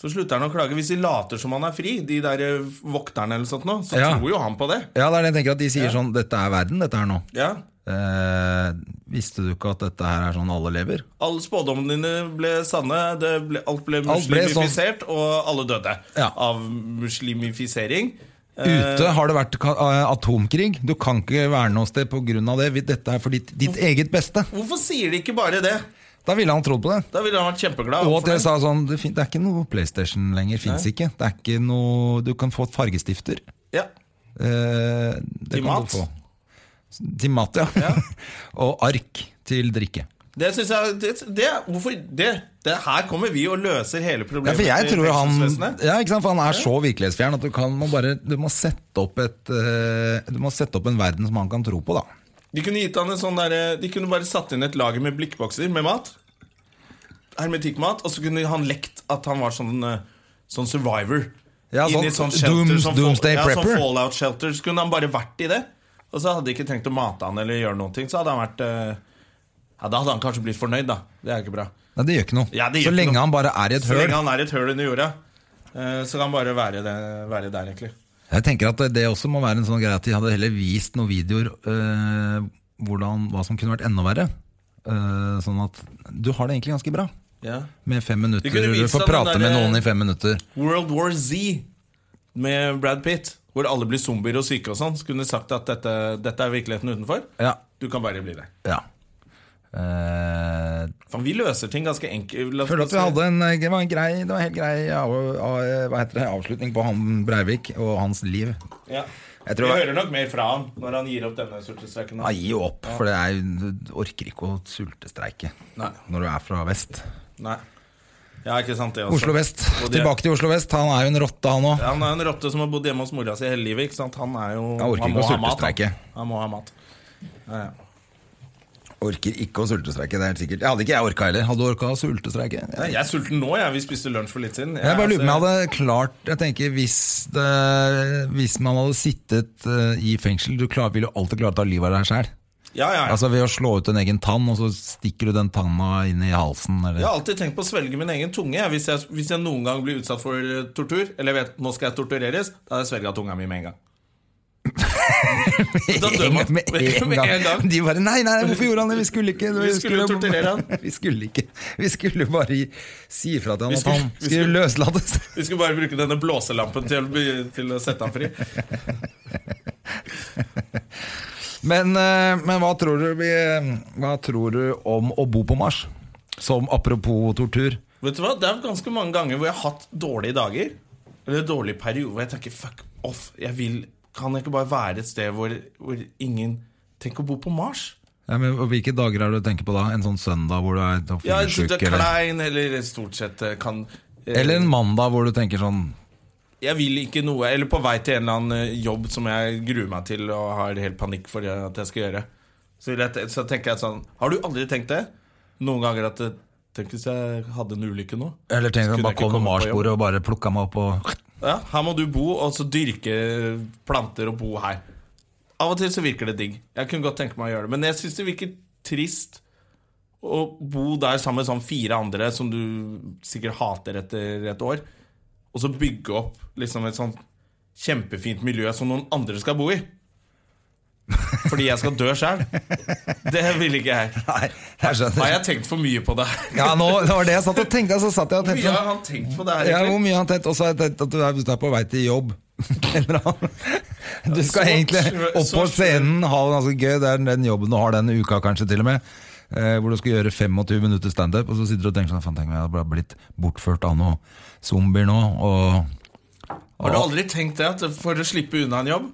Speaker 1: Så slutter han å klage. Hvis de later som han er fri, de der eh, vokterne eller sånt nå, så
Speaker 2: Ja.
Speaker 1: tror jo han på det.
Speaker 2: Ja, det er det jeg tenker at de sier sånn Dette er verden, dette her nå.
Speaker 1: Ja.
Speaker 2: Eh, visste du ikke at dette her er sånn alle lever?
Speaker 1: Alle spådommene dine ble sanne. Det ble, alt ble
Speaker 2: Alt ble sånn.
Speaker 1: muslimifisert, og alle døde
Speaker 2: Ja.
Speaker 1: av muslimifisering.
Speaker 2: Ute har det vært ka- eh, atomkrig. Du kan ikke være noe sted pga. det. Vi- Dette er for ditt, ditt eget beste.
Speaker 1: Hvorfor sier de ikke bare det?
Speaker 2: Da ville han trodd på det.
Speaker 1: Da ville han vært kjempeglad.
Speaker 2: Og
Speaker 1: for
Speaker 2: at jeg
Speaker 1: det.
Speaker 2: sa sånn Det, fin, det er ikke noe PlayStation lenger. Fins ikke. Det er ikke noe Du kan få et fargestifter.
Speaker 1: Ja.
Speaker 2: Eh, det
Speaker 1: Til
Speaker 2: kan du
Speaker 1: mat?
Speaker 2: få. Til mat, ja. og ark til drikke.
Speaker 1: Det synes jeg det, det, Hvorfor det? det? Her kommer vi og løser hele
Speaker 2: Ja,
Speaker 1: problemet.
Speaker 2: for jeg
Speaker 1: til
Speaker 2: tror han
Speaker 1: fengselsvesenet.
Speaker 2: ja, ikke sant? For han er så virkelighetsfjern at du kan må bare Du må sette opp et eh, Du må sette opp en verden som han kan tro på, da.
Speaker 1: De kunne gitt han en sånn derre- De kunne bare satt inn et lager med blikkbokser med mat. Hermetikkmat. Og så kunne han lekt at han var sånn, eh, sånn survivor.
Speaker 2: Ja,
Speaker 1: Inn i
Speaker 2: sånn
Speaker 1: sånn shelter,
Speaker 2: dooms-
Speaker 1: sånn,
Speaker 2: doomsday
Speaker 1: ja, sånn
Speaker 2: prepper.
Speaker 1: fallout shelter. Så kunne han bare vært i det. Og så hadde de ikke trengt å mate han eller gjøre noen ting. Så hadde han vært eh, Ja, Da hadde han kanskje blitt fornøyd, da. Det er jo ikke bra.
Speaker 2: Nei, det gjør ikke noe.
Speaker 1: Ja, det gjør
Speaker 2: så
Speaker 1: ikke
Speaker 2: lenge
Speaker 1: noe.
Speaker 2: han bare er i et
Speaker 1: Så
Speaker 2: høl.
Speaker 1: lenge han er i et høl under jorda, eh, så kan han bare være, det, være der, egentlig.
Speaker 2: Jeg tenker at det også må være en sånn greie at de hadde heller vist noen videoer eh, hvordan, hva som kunne vært enda verre. Eh, sånn at du har det egentlig ganske bra.
Speaker 1: Ja.
Speaker 2: Med fem minutter,
Speaker 1: kunne
Speaker 2: du
Speaker 1: vist
Speaker 2: får
Speaker 1: han den
Speaker 2: prate med
Speaker 1: derre-
Speaker 2: noen i fem minutter.
Speaker 1: World War Z med Brad Pitt, hvor alle blir zombier og syke og sånn, skulle du sagt at dette, dette er virkeligheten utenfor.
Speaker 2: Ja,
Speaker 1: Du kan bare bli det.
Speaker 2: ja. Eh,
Speaker 1: Faen, vi løser ting ganske enkelt. La oss-
Speaker 2: føler at vi hadde en, eh, det var en grei, det var en helt grei av, av, eh, hva heter det, avslutning på han Breivik og hans liv.
Speaker 1: ja.
Speaker 2: Jeg
Speaker 1: Vi
Speaker 2: tror
Speaker 1: hører nok mer fra han når han gir opp denne sultestreken.
Speaker 2: Han gir jo opp, for det er, jo- du orker ikke å sultestreike
Speaker 1: Nei.
Speaker 2: når du er fra vest.
Speaker 1: Nei. Ja, ikke sant det også.
Speaker 2: Oslo vest.
Speaker 1: Og de-
Speaker 2: Tilbake til Oslo vest. Han er jo en rotte, han òg.
Speaker 1: Han er en rotte som har bodd hjemme hos mora si hele livet. ikke sant? Han er jo...
Speaker 2: Jeg orker ikke
Speaker 1: må
Speaker 2: å
Speaker 1: ha mat,
Speaker 2: sultestreike.
Speaker 1: han. Han må ha mat. Ja, ja.
Speaker 2: Orker ikke å sultestreike, det er helt sikkert. Jeg hadde ikke jeg orka heller. Hadde du orka å sultestreike?
Speaker 1: Nei,
Speaker 2: Jeg,
Speaker 1: Jeg er sulten nå. Jeg. Vi spiste lunsj for litt siden.
Speaker 2: jeg bare lurer på om
Speaker 1: altså-
Speaker 2: jeg hadde klart Jeg tenker hvis, det, hvis man hadde sittet eh, i fengsel Du klar, vil jo alltid klare å ta livet av deg sjæl.
Speaker 1: Ja, ja, ja.
Speaker 2: Altså ved å slå ut en egen tann, og så stikker du den tanna inn i halsen. Eller.
Speaker 1: Jeg har alltid tenkt på å svelge min egen tunge. jeg. Hvis jeg, hvis jeg noen gang blir utsatt for eh, tortur, eller jeg vet nå skal jeg tortureres, da hadde jeg svelga tunga mi med en gang. Da dør man
Speaker 2: med en gang. De bare nei, nei, hvorfor gjorde han det? Vi skulle ikke
Speaker 1: Vi skulle jo torturere han.
Speaker 2: Vi skulle ikke Vi skulle jo bare gi- si ifra til han
Speaker 1: Vi
Speaker 2: at
Speaker 1: skulle-
Speaker 2: han
Speaker 1: vi
Speaker 2: skulle
Speaker 1: skulle-
Speaker 2: løslates.
Speaker 1: Vi skulle bare bruke denne blåselampen til, å be- til å sette ham fri.
Speaker 2: Men, eh, men hva, tror du vi, hva tror du om å bo på Mars? Som apropos tortur.
Speaker 1: Vet du hva? Det er ganske mange ganger hvor jeg har hatt dårlige dager. Eller dårlige perioder hvor jeg tenker fuck off. Jeg vil, kan jeg ikke bare være et sted hvor, hvor ingen Tenk å bo på Mars.
Speaker 2: Ja, men Hvilke dager er det du tenker på da? En sånn søndag hvor du er
Speaker 1: Ja, jeg synes
Speaker 2: fyllesyk?
Speaker 1: det er
Speaker 2: eller,
Speaker 1: klein, eller stort sett eh, kan eh,
Speaker 2: eller en mandag hvor du tenker sånn
Speaker 1: jeg vil ikke noe Eller på vei til en eller annen eh, jobb som jeg gruer meg til og har helt panikk for at jeg skal gjøre. Så, vil jeg, te- så tenker jeg sånn Har du aldri tenkt det? Noen ganger at eh, Tenk hvis jeg hadde en ulykke nå.
Speaker 2: Eller tenker
Speaker 1: Skulle
Speaker 2: sånn,
Speaker 1: jeg
Speaker 2: bare
Speaker 1: ikke
Speaker 2: kom til
Speaker 1: komme på
Speaker 2: Mars-bordet og bare plukka meg opp og
Speaker 1: Ja, her må du bo, og så dyrke planter og bo her. Av og til så virker det digg. Jeg kunne godt tenke meg å gjøre det. Men jeg syns det virker trist å bo der sammen med sånn fire andre som du sikkert hater etter et år. Og så bygge opp liksom et sånn kjempefint miljø som noen andre skal bo i. Fordi jeg skal dø sjæl. Det vil ikke jeg.
Speaker 2: Nei, jeg
Speaker 1: Har
Speaker 2: skjønner.
Speaker 1: jeg tenkt for mye på det her?
Speaker 2: Ja, nå, det var det jeg satt og tenkte. Så satt jeg og
Speaker 1: Hvor
Speaker 2: tenkte
Speaker 1: mye
Speaker 2: sånn,
Speaker 1: har han tenkt på det her,
Speaker 2: Ja, hvor
Speaker 1: egentlig?
Speaker 2: mye har han tett? Og så har jeg tett at du er, hvis du er på vei til jobb. Eller han- du skal
Speaker 1: Så
Speaker 2: egentlig
Speaker 1: slø-
Speaker 2: opp
Speaker 1: så
Speaker 2: på
Speaker 1: slø-
Speaker 2: scenen, ha det ganske gøy. Det er den jobben du har denne uka, kanskje til og med. Eh, hvor du skal gjøre 25 minutter standup, og så sitter du og tenker sånn Faen, tenk om jeg hadde bare blitt bortført av noen zombier nå, og
Speaker 1: Har du aldri tenkt det? At for å slippe unna en jobb,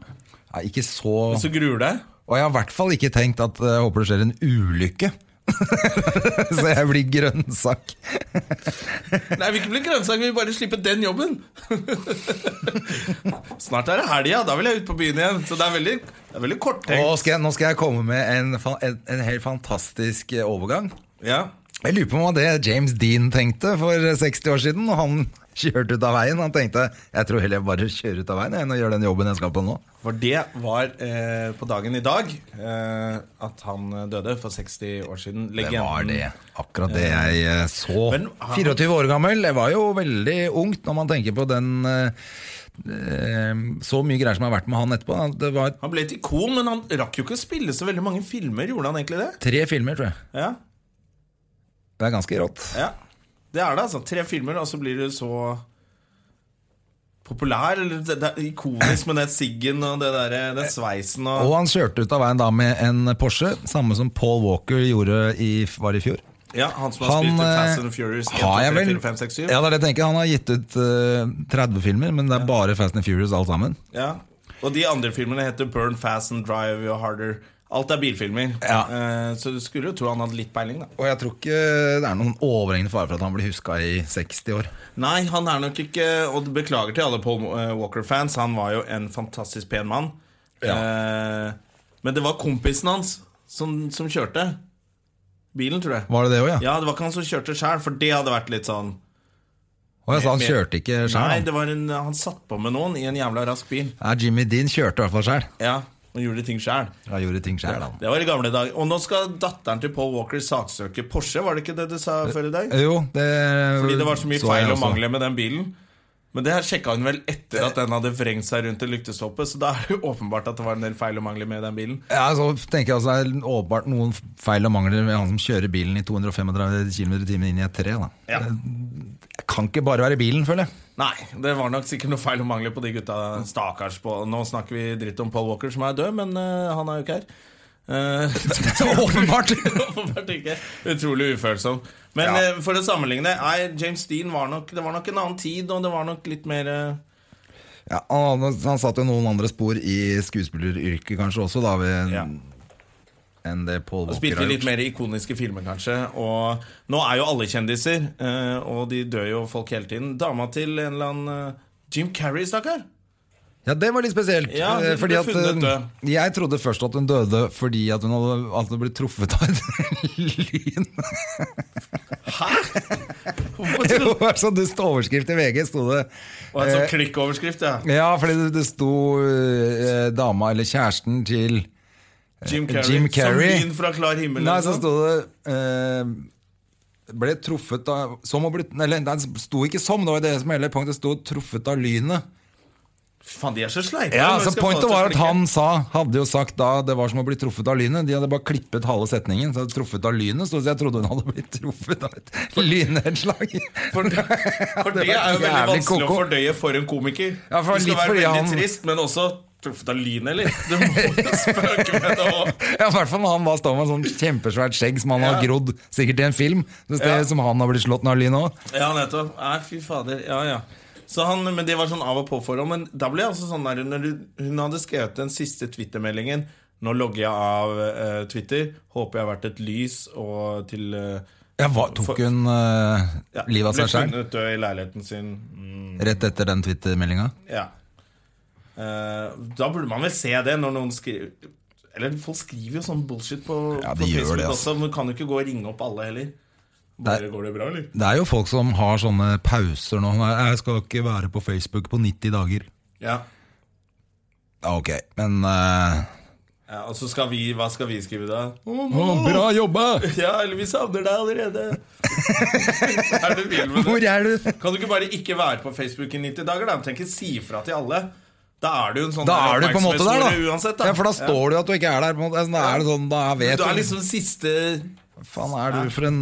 Speaker 2: Nei, ikke så
Speaker 1: så gruer du deg?
Speaker 2: Og jeg har i hvert fall ikke tenkt at eh, jeg håper det skjer en ulykke. så jeg blir grønnsak.
Speaker 1: Nei, vi vil ikke bli grønnsak, vi vil bare slippe den jobben. Snart er det helga, da vil jeg ut på byen igjen. Så det er veldig, det er veldig
Speaker 2: Og
Speaker 1: korttenkt.
Speaker 2: skal jeg, nå skal jeg komme med en, fa- en, en helt fantastisk eh, overgang.
Speaker 1: Ja.
Speaker 2: Jeg lurer på om det var det James Dean tenkte for 60 år siden. Og han kjørte ut av veien. Han tenkte jeg tror heller jeg bare kjører ut av veien jeg, enn å gjøre den jobben jeg skal på nå.
Speaker 1: For det var eh, på dagen i dag eh, at han døde for 60 år siden.
Speaker 2: Det
Speaker 1: Legenden.
Speaker 2: var det. Akkurat det jeg eh, så.
Speaker 1: Men-
Speaker 2: 24 år gammel. Jeg var jo veldig ungt når man tenker på den eh, eh, Så mye greier som har vært med han etterpå. Det var
Speaker 1: Han ble et ikon, men han rakk jo ikke å spille så veldig mange filmer. Gjorde han egentlig det?
Speaker 2: tre filmer, tror jeg.
Speaker 1: Ja,
Speaker 2: Det er ganske rått.
Speaker 1: ja. Det er det, altså. Tre filmer, og så blir du så populær. Eller, det, det er ikonisk med det siggen og det der, den sveisen og,
Speaker 2: Og han kjørte ut av veien da med en Porsche, samme som Paul Walker gjorde i, var i fjor.
Speaker 1: Ja, han som har
Speaker 2: Han,
Speaker 1: spilt i Fast
Speaker 2: eh,
Speaker 1: and Furious 1, 2,
Speaker 2: har
Speaker 1: 3,
Speaker 2: jeg vel
Speaker 1: 4, 5, 6,
Speaker 2: Ja,
Speaker 1: 7.
Speaker 2: det er det jeg tenker. Han har gitt ut eh, 30 filmer, men det er bare Fast and Furious alt sammen.
Speaker 1: Ja. Og de andre filmene heter Burn Fast and Drive og Harder. Alt er bilfilmer.
Speaker 2: Ja.
Speaker 1: Eh, så du skulle jo tro han hadde litt peiling, da.
Speaker 2: Og jeg tror ikke det er noen overhengende fare for at han blir huska i 60 år.
Speaker 1: Nei, han er nok ikke Og beklager til alle Paul eh, Walker-fans. Han var jo en fantastisk pen mann. Eh, men det var kompisen hans som, som kjørte bilen, tror jeg.
Speaker 2: Var det det òg, ja?
Speaker 1: Ja, det var ikke han som kjørte sjøl, for det hadde vært litt sånn
Speaker 2: Og jeg sa han kjørte ikke
Speaker 1: Nei,
Speaker 2: sjøl.
Speaker 1: det var en, han satt på med noen i en jævla rask bil.
Speaker 2: Jimmy Dean kjørte i hvert fall sjøl.
Speaker 1: Ja, og gjorde ting sjøl.
Speaker 2: Han gjorde ting sjæl, han.
Speaker 1: Det var i gamle dager. Og nå skal datteren til Paul Walker saksøke Porsche, var det ikke det du sa før i dag?
Speaker 2: Jo, det
Speaker 1: Fordi det var så mye
Speaker 2: eh, jeg
Speaker 1: feil og
Speaker 2: også.
Speaker 1: mangler med den bilen. Men det her sjekka hun vel etter at den hadde vrengt seg rundt i lyktestolpe, så da er det jo åpenbart at det var en del feil og mangler med den bilen.
Speaker 2: Ja, så tenker jeg altså Det er åpenbart noen feil og mangler ved han som kjører bilen i 235 km i timen inn i et tre. Da.
Speaker 1: Ja.
Speaker 2: Jeg kan ikke bare være bilen, føler jeg.
Speaker 1: Nei, det var nok sikkert noe feil og mangler på de gutta. Stakkars på Nå snakker vi dritt om Paul Walker, som er død, men eh, han er jo ikke her. Eh,
Speaker 2: Åpenbart!
Speaker 1: Åpenbart ikke. Utrolig ufølsom. Men
Speaker 2: Ja.
Speaker 1: eh, for å sammenligne nei, James Dean var nok Det var nok en annen tid, og det var nok litt mer eh,
Speaker 2: Ja, han, hadde- han satte jo noen andre spor i skuespilleryrket kanskje også, da, ved,
Speaker 1: ja.
Speaker 2: enn det Paul
Speaker 1: Og
Speaker 2: Walker
Speaker 1: spilte
Speaker 2: har
Speaker 1: litt
Speaker 2: gjort.
Speaker 1: mer ikoniske filmer, kanskje. Og nå er jo alle kjendiser, eh, og de dør jo folk hele tiden. Dama til en eller annen eh, Jim Carrey, stakkar.
Speaker 2: Ja, det var litt spesielt.
Speaker 1: Ja,
Speaker 2: eh,
Speaker 1: hun
Speaker 2: fordi
Speaker 1: ble
Speaker 2: at,
Speaker 1: funnet død.
Speaker 2: eh, jeg trodde først at hun døde fordi at hun hadde, at hun ble truffet av et lyn.
Speaker 1: Hæ?! Hvorfor
Speaker 2: Det
Speaker 1: trodde
Speaker 2: var en sånn dust overskrift i VG, sto det.
Speaker 1: Og en
Speaker 2: Eh,
Speaker 1: sånn klikkoverskrift, ja.
Speaker 2: Ja, fordi det, det sto eh, dama, eller kjæresten til
Speaker 1: Jim Carrey.
Speaker 2: Jim Carrey.
Speaker 1: Som lyn fra klar himmel.
Speaker 2: Nei,
Speaker 1: eller
Speaker 2: så
Speaker 1: noe.
Speaker 2: sto det eh, Ble truffet av Som å bli Eller nei, det sto ikke som, det var det som hele poenget. Det sto 'truffet av lynet'.
Speaker 1: Faen, de er så sleipe.
Speaker 2: Ja,
Speaker 1: når vi
Speaker 2: så
Speaker 1: skal få
Speaker 2: Pointet
Speaker 1: det til å
Speaker 2: var at
Speaker 1: klikke.
Speaker 2: han sa, hadde jo sagt da det var som å bli truffet av lynet. De hadde bare klippet halve setningen. Så hadde truffet av lynet Så jeg trodde hun hadde blitt truffet av et lynnedslag.
Speaker 1: For, for det,
Speaker 2: Det var
Speaker 1: er jo veldig
Speaker 2: jævlig
Speaker 1: vanskelig
Speaker 2: koko.
Speaker 1: å fordøye for en komiker.
Speaker 2: Ja, for
Speaker 1: du skal
Speaker 2: litt
Speaker 1: være
Speaker 2: fordi
Speaker 1: veldig
Speaker 2: han-
Speaker 1: trist, men også truffet av lyn, eller? Du må jo spøke med det òg.
Speaker 2: Ja, I hvert fall når han da står med sånn kjempesvært skjegg som han har
Speaker 1: Ja.
Speaker 2: grodd sikkert i en film. Så det,
Speaker 1: Ja.
Speaker 2: Som han har blitt slått av lynet òg.
Speaker 1: Ja, nettopp. Nei, fy fader. Ja, ja. Så han, men det var sånn av og på-forhold. Men da ble jeg altså sånn der når du, Hun hadde skrevet den siste Twitter-meldingen. Nå logger jeg av eh, Twitter. Håper jeg har vært et lys og til eh,
Speaker 2: Ja, hva- tok hun eh,
Speaker 1: ja,
Speaker 2: livet av seg
Speaker 1: Ble
Speaker 2: sjøl
Speaker 1: funnet død i leiligheten sin. Mm,
Speaker 2: rett etter den Twitter-meldinga?
Speaker 1: ja. Eh, da burde man vel se det når noen skriver Eller folk skriver jo sånn bullshit på,
Speaker 2: Ja, de
Speaker 1: på
Speaker 2: gjør
Speaker 1: Facebook
Speaker 2: det, altså.
Speaker 1: også. Men kan jo ikke gå og ringe opp alle heller. Bare, går det bra, eller?
Speaker 2: Det er jo folk som har sånne pauser nå. Nei, Jeg skal ikke være på Facebook på 90 dager.
Speaker 1: Ja.
Speaker 2: Ja, ok, men eh,
Speaker 1: ja. Og så skal vi Hva skal vi skrive da? Å,
Speaker 2: å, Bra jobba!
Speaker 1: Ja, eller vi savner deg allerede. er du vill med
Speaker 2: Hvor
Speaker 1: det?
Speaker 2: er du?
Speaker 1: Kan du ikke bare ikke være på Facebook i 90 dager? da? Tenk ikke si ifra til alle. Da er du en sånn
Speaker 2: Da
Speaker 1: der
Speaker 2: er du på en måte der, da.
Speaker 1: oppmerksomhetsmore Uansett, da.
Speaker 2: Ja, for da står det jo at du ikke er der. På en måte. Altså, Da er det sånn, da
Speaker 1: ja.
Speaker 2: vet
Speaker 1: Du
Speaker 2: du.
Speaker 1: er liksom siste
Speaker 2: Faen, er du for en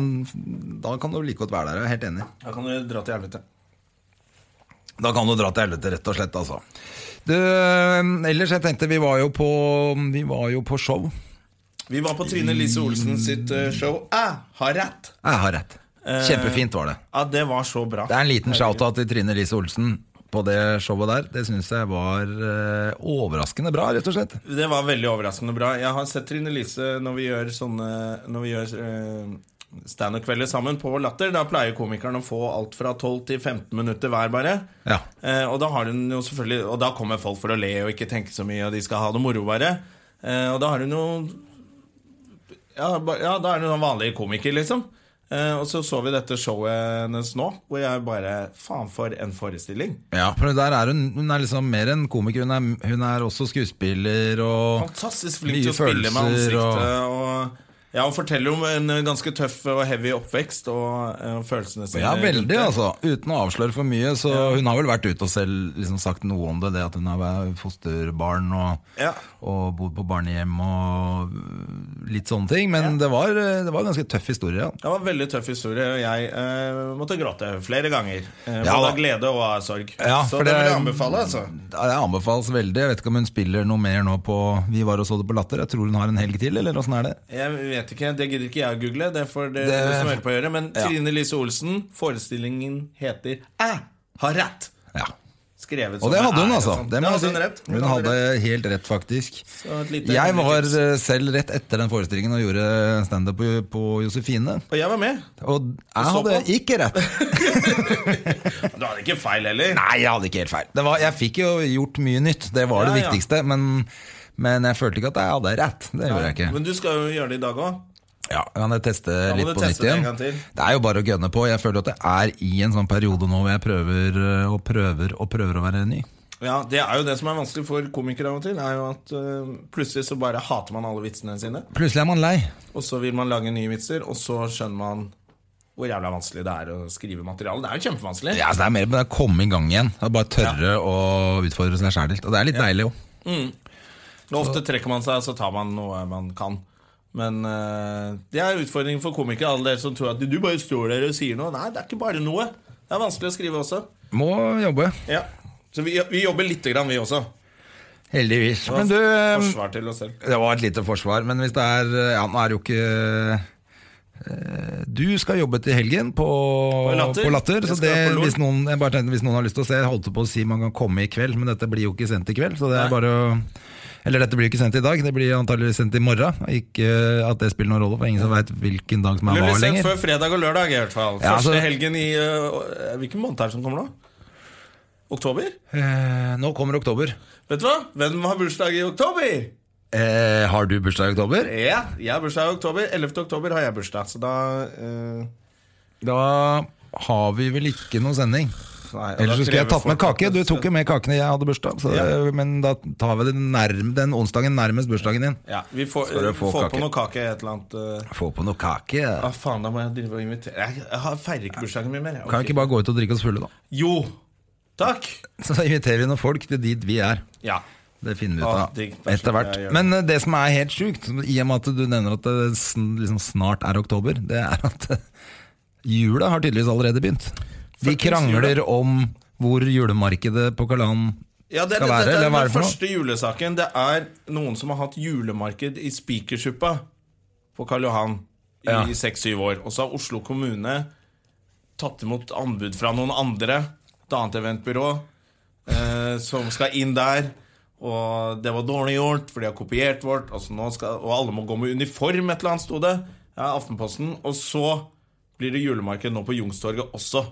Speaker 2: Da kan du like godt være der. Jeg er helt enig.
Speaker 1: Da kan du dra til helvete.
Speaker 2: Da kan du dra til helvete, rett og slett, altså. Du, eh, ellers, jeg tenkte vi var jo på, vi var jo på show.
Speaker 1: Vi var på Trine Lise Olsen sitt eh, show. Jeg har rett!
Speaker 2: Jeg har rett. Kjempefint var det.
Speaker 1: Ja, det var så bra.
Speaker 2: Det er en liten shout-out til Trine Lise Olsen på det showet der. Det syns jeg var eh, overraskende bra, rett og slett.
Speaker 1: Det var veldig overraskende bra. Jeg har sett Trine Lise når vi gjør sånne Når vi gjør eh, standup-kvelder sammen på Latter. Da pleier komikeren å få alt fra 12 til 15 minutter hver, bare.
Speaker 2: Ja.
Speaker 1: Eh, og da har hun jo selvfølgelig Og da kommer folk for å le og ikke tenke så mye, og de skal ha det moro, bare. Eh, og da har hun jo ja, ba- ja, da er hun en vanlig komiker, liksom. Eh, og så så vi dette showet hennes nå, hvor jeg bare Faen, for en forestilling!
Speaker 2: Ja, for der er hun, hun er liksom mer enn komiker. Hun er, hun er også skuespiller og
Speaker 1: Fantastisk flink
Speaker 2: Mye
Speaker 1: til å spille med
Speaker 2: følelser og-
Speaker 1: ansiktet. Og... Ja, Hun forteller om en ganske tøff og heavy oppvekst og eh, følelsene sine.
Speaker 2: Ja,
Speaker 1: rundt
Speaker 2: veldig,
Speaker 1: det.
Speaker 2: altså. Uten å avsløre for mye. Så hun har vel vært ute og selv liksom sagt noe om det, det at hun har vært fosterbarn og,
Speaker 1: Ja.
Speaker 2: og bodd på barnehjem og øh, litt sånne ting. Men det, var, eh, det var en ganske tøff historie. Ja.
Speaker 1: Det var en veldig tøff historie, og jeg eh, måtte gråte flere ganger. Eh,
Speaker 2: Ja,
Speaker 1: både
Speaker 2: da.
Speaker 1: av glede og av sorg.
Speaker 2: Ja,
Speaker 1: så
Speaker 2: for
Speaker 1: det,
Speaker 2: det-
Speaker 1: vil jeg anbefale, altså.
Speaker 2: Ja, Det anbefales veldig. Jeg vet ikke om hun spiller noe mer nå på Vi var og så det på Latter. Jeg tror hun har en helg til, eller åssen er det?
Speaker 1: Jeg vet ikke, Det gidder ikke jeg å google, det får det,
Speaker 2: Det-
Speaker 1: du som hører på å gjøre. Men
Speaker 2: Ja.
Speaker 1: Trine Lise Olsen, forestillingen heter 'Æ har rett'.
Speaker 2: Ja.
Speaker 1: Skrevet
Speaker 2: Og det
Speaker 1: med
Speaker 2: hadde hun,
Speaker 1: æ,
Speaker 2: altså. Det
Speaker 1: sånn. Det
Speaker 2: må jeg
Speaker 1: hadde
Speaker 2: si.
Speaker 1: hun rett.
Speaker 2: Hun hadde helt rett, faktisk.
Speaker 1: Så et lite
Speaker 2: Jeg var
Speaker 1: tips.
Speaker 2: eh, selv rett etter den forestillingen og gjorde standup på, på Josefine.
Speaker 1: Og jeg var med.
Speaker 2: Og jeg
Speaker 1: så
Speaker 2: hadde
Speaker 1: på?
Speaker 2: ikke rett.
Speaker 1: Du hadde ikke feil heller.
Speaker 2: Nei, jeg hadde ikke helt feil. Det var, jeg fikk jo gjort mye nytt, det var det
Speaker 1: Ja, ja.
Speaker 2: viktigste. Men, men jeg følte ikke at jeg hadde rett. Det gjorde jeg ikke.
Speaker 1: Men du skal jo gjøre det i dag òg.
Speaker 2: Ja, kan jeg teste
Speaker 1: må
Speaker 2: litt
Speaker 1: du
Speaker 2: på nytt
Speaker 1: teste det
Speaker 2: igjen?
Speaker 1: en gang til.
Speaker 2: Det er jo bare å gønne på. Jeg føler at det er i en sånn periode nå hvor jeg prøver øh, og prøver og prøver å være ny.
Speaker 1: Ja, det er jo det som er vanskelig for komikere av og til. Er jo at øh, Plutselig så bare hater man alle vitsene sine,
Speaker 2: Plutselig er man lei.
Speaker 1: og så vil man lage nye vitser, og så skjønner man hvor jævla vanskelig det er å skrive materiale. Det er jo kjempevanskelig.
Speaker 2: Ja, så det er mer bare å komme i gang igjen. Det er bare å tørre å utfordre seg sjæl litt. Og det er litt deilig òg.
Speaker 1: Og Ofte trekker man seg, og så tar man noe man kan. Men øh, det er utfordringen for komikere, alle dere som tror at du bare står der og sier noe. Nei, det er ikke bare noe. Det er vanskelig å skrive også.
Speaker 2: Må jobbe.
Speaker 1: Ja. Så vi, vi jobber lite grann, vi også.
Speaker 2: Heldigvis. Men du øh,
Speaker 1: Forsvar til oss selv.
Speaker 2: Det var et lite forsvar, men hvis det er Ja, nå er det jo ikke eh, du skal jobbe til helgen på, på
Speaker 1: Latter.
Speaker 2: Latter. så
Speaker 1: Jeg skal
Speaker 2: det,
Speaker 1: på LOL.
Speaker 2: hvis, noen, jeg bare tenkte, hvis noen har lyst til å se Jeg holdt på å si man kan komme i kveld, men dette blir jo ikke sendt i kveld. Så det
Speaker 1: Nei.
Speaker 2: er bare å Eller dette blir jo ikke sendt i dag, det blir antageligvis sendt i morgen. Ikke eh, at det spiller noen rolle, for ingen som veit hvilken dag som
Speaker 1: Det
Speaker 2: er hva
Speaker 1: blir sendt
Speaker 2: lenger.
Speaker 1: før fredag og lørdag i hvert fall.
Speaker 2: Ja,
Speaker 1: Første
Speaker 2: altså-
Speaker 1: helgen i øh, Hvilken måned er det som kommer nå? Oktober?
Speaker 2: Eh, nå kommer oktober.
Speaker 1: Vet du hva? Hvem har bursdag i oktober?
Speaker 2: Eh, har du bursdag i oktober?
Speaker 1: Ja, jeg har bursdag i oktober. 11. oktober har jeg bursdag, så da øh,
Speaker 2: Da har vi vel ikke noe sending.
Speaker 1: nei, og da
Speaker 2: Ellers så skulle jeg
Speaker 1: krever
Speaker 2: tatt med
Speaker 1: folk
Speaker 2: kake.
Speaker 1: at-
Speaker 2: Du tok jo med kakene jeg hadde bursdag, så,
Speaker 1: Ja.
Speaker 2: men da tar vi den, nærm, den onsdagen nærmest bursdagen din.
Speaker 1: Ja, vi får,
Speaker 2: Skal du få
Speaker 1: får
Speaker 2: kake?
Speaker 1: på noe kake, et eller annet. øh.
Speaker 2: Få på noe kake.
Speaker 1: Ah, faen, da må jeg drive og invitere Jeg, jeg har- feirer ikke bursdagen min mer. jeg.
Speaker 2: Kan vi ikke bare gå ut og drikke oss fulle, da?
Speaker 1: Jo! Takk!
Speaker 2: Så da inviterer vi noen folk til dit vi er.
Speaker 1: Ja.
Speaker 2: Det finner vi
Speaker 1: Å, Ah, digg.
Speaker 2: ut av
Speaker 1: Vær så
Speaker 2: etter
Speaker 1: god,
Speaker 2: hvert.
Speaker 1: jeg gjør det.
Speaker 2: Men eh, det som er helt sjukt, i og med at du nevner at det sn- liksom snart er oktober, det er at eh, jula har tydeligvis allerede begynt. De
Speaker 1: Fuckings
Speaker 2: krangler
Speaker 1: jula.
Speaker 2: om hvor julemarkedet på Kalan
Speaker 1: Ja, det,
Speaker 2: skal være,
Speaker 1: dette, er
Speaker 2: eller hva er
Speaker 1: den
Speaker 2: det for noe?
Speaker 1: første julesaken. Det er noen som har hatt julemarked i Spikersuppa på Karl Johan
Speaker 2: Ja.
Speaker 1: i seks-syv år. Og så har Oslo kommune tatt imot anbud fra noen andre, et annet eventbyrå, eh, som skal inn der. Og det var dårlig gjort, for de har kopiert vårt. Og, så nå skal, og alle må gå med uniform, et eller annet, sto det. Ja, Aftenposten. Og så blir det julemarked nå på Youngstorget også.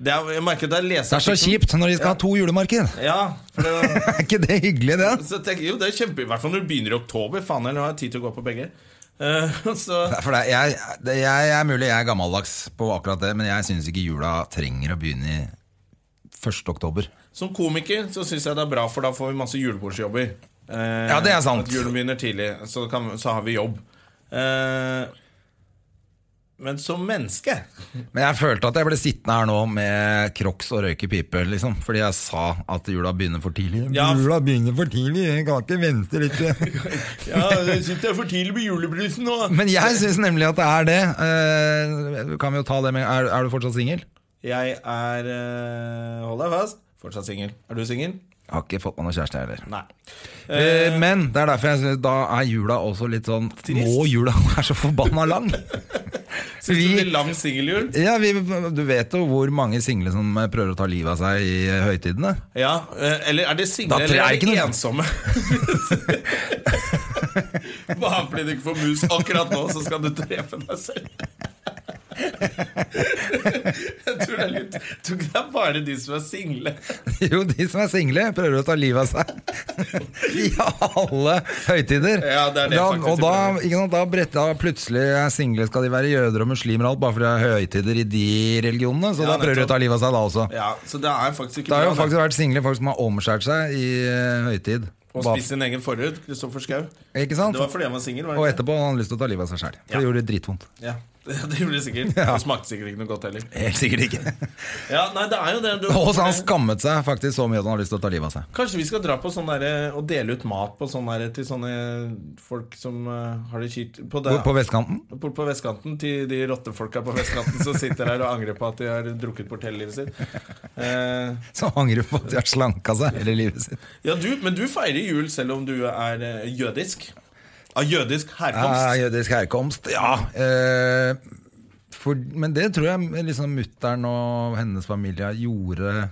Speaker 1: Det er, jeg merker at jeg
Speaker 2: Det
Speaker 1: leser
Speaker 2: er så kjipt når de skal ha to julemarked!
Speaker 1: Ja, for det
Speaker 2: Er ikke det hyggelig, det?
Speaker 1: så tenker jeg, jo, det er kjempe, I hvert fall når du begynner i oktober. Faen, eller har jeg tid til å gå på begge? Eh, så,
Speaker 2: Nei, For det, jeg, det, jeg, jeg er mulig jeg er gammeldags på akkurat det, men jeg syns ikke jula trenger å begynne i 1. oktober.
Speaker 1: som komiker så syns jeg det er bra, for da får vi masse julebordsjobber. Eh,
Speaker 2: Ja, det er sant.
Speaker 1: At julen begynner tidlig, så, kan, så har vi jobb. Eh, men som menneske
Speaker 2: Men jeg følte at jeg ble sittende her nå med crocs og røyke pipe, liksom. Fordi jeg sa at jula begynner for tidlig.
Speaker 1: Ja.
Speaker 2: Jula begynner for tidlig, jeg kan ikke vente litt.
Speaker 1: Ja, jeg syns det er for tidlig med julebrusen nå.
Speaker 2: Men jeg syns nemlig at det er det. Eh, kan vi jo ta det med Er, er du fortsatt singel?
Speaker 1: Jeg er eh, Hold deg fast. Fortsatt singel. Er du singel?
Speaker 2: Har ikke fått meg noen kjæreste, jeg heller.
Speaker 1: Nei.
Speaker 2: Eh, men det er derfor jeg synes, da er jula også litt sånn Må jula være så forbanna lang?
Speaker 1: Syns du det blir lang singeljul?
Speaker 2: Ja, vi, Du vet jo hvor mange single som eh, prøver å ta livet av seg i høytidene.
Speaker 1: Ja, eh, eller er det single,
Speaker 2: Da tror
Speaker 1: eller
Speaker 2: jeg
Speaker 1: er
Speaker 2: ikke
Speaker 1: det
Speaker 2: noe-
Speaker 1: ensomme? Bare fordi du ikke får mus akkurat nå, så skal du drepe deg selv. Jeg tror det er litt jeg tror ikke det er bare de som er single.
Speaker 2: Jo, de som er single, prøver å ta livet av seg i alle høytider.
Speaker 1: Ja, det er det
Speaker 2: da,
Speaker 1: faktisk
Speaker 2: og
Speaker 1: de
Speaker 2: da,
Speaker 1: prøver.
Speaker 2: ikke sant, da bretta plutselig er single, skal de være jøder og muslimer og alt, bare fordi det er høytider i de religionene. Så
Speaker 1: Ja,
Speaker 2: da prøver de
Speaker 1: nettopp.
Speaker 2: å ta livet av seg da også.
Speaker 1: Ja, Så det er faktisk ikke
Speaker 2: Det har jo
Speaker 1: bra.
Speaker 2: faktisk vært single folk som har omskjært seg i eh, høytid.
Speaker 1: Å
Speaker 2: Bare-
Speaker 1: spise sin egen forhud, Kristoffer Skau.
Speaker 2: Ikke sant?
Speaker 1: Det var fordi han var singel, var
Speaker 2: Og
Speaker 1: det ikke?
Speaker 2: etterpå har han lyst til å ta livet av seg sjæl. For
Speaker 1: Ja.
Speaker 2: det gjorde dritvondt.
Speaker 1: Ja. Det gjorde det sikkert. Det smakte sikkert ikke noe godt heller.
Speaker 2: Helt sikkert ikke.
Speaker 1: Ja, nei, det er jo det du,
Speaker 2: Og så han skammet seg faktisk så mye at han har lyst til å ta livet av seg.
Speaker 1: Kanskje vi skal dra på sånn derre og dele ut mat på sånn derre til sånne folk som eh, har det kjipt på, det-
Speaker 2: Hvor- På vestkanten.
Speaker 1: Bort på vestkanten til de rottefolka på vestkanten som sitter her og angrer på at de har drukket bort hele livet sitt. Eh,
Speaker 2: Så angrer på at de har slanka seg hele livet sitt.
Speaker 1: ja, du, men du feirer jul selv om du er eh, jødisk. Av jødisk
Speaker 2: Ah, Ja,
Speaker 1: herkomst.
Speaker 2: jødisk herkomst, ja. Eh, for, men det tror jeg liksom mutter'n og hennes familie gjorde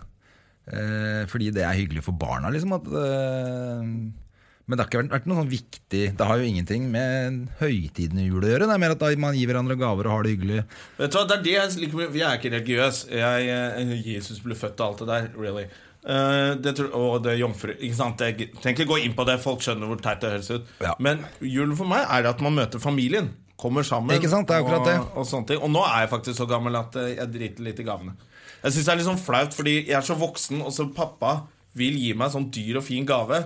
Speaker 2: eh, fordi det er hyggelig for barna, liksom. At, eh, men det har ikke vært, vært noe sånn viktig Det har jo ingenting med høytiden i jul å gjøre. Det er mer at da man gir hverandre gaver og har det hyggelig.
Speaker 1: Vet du hva, det er det jeg liker med Jeg er ikke religiøs. Jeg, eh, Jesus ble født og alt det der. Really. Eh, det tror, og det er jomfru. Ikke sant? Jeg trenger ikke gå inn på det, folk skjønner hvor teit det høres ut.
Speaker 2: Ja.
Speaker 1: Men jul for meg er at man møter familien. Kommer sammen.
Speaker 2: Ikke sant, det er akkurat
Speaker 1: og,
Speaker 2: det.
Speaker 1: Og, sånne ting. og nå er jeg faktisk så gammel at eh, jeg driter litt i gavene. Jeg syns det er litt sånn flaut, fordi jeg er så voksen, og så pappa vil gi meg sånn dyr og fin gave.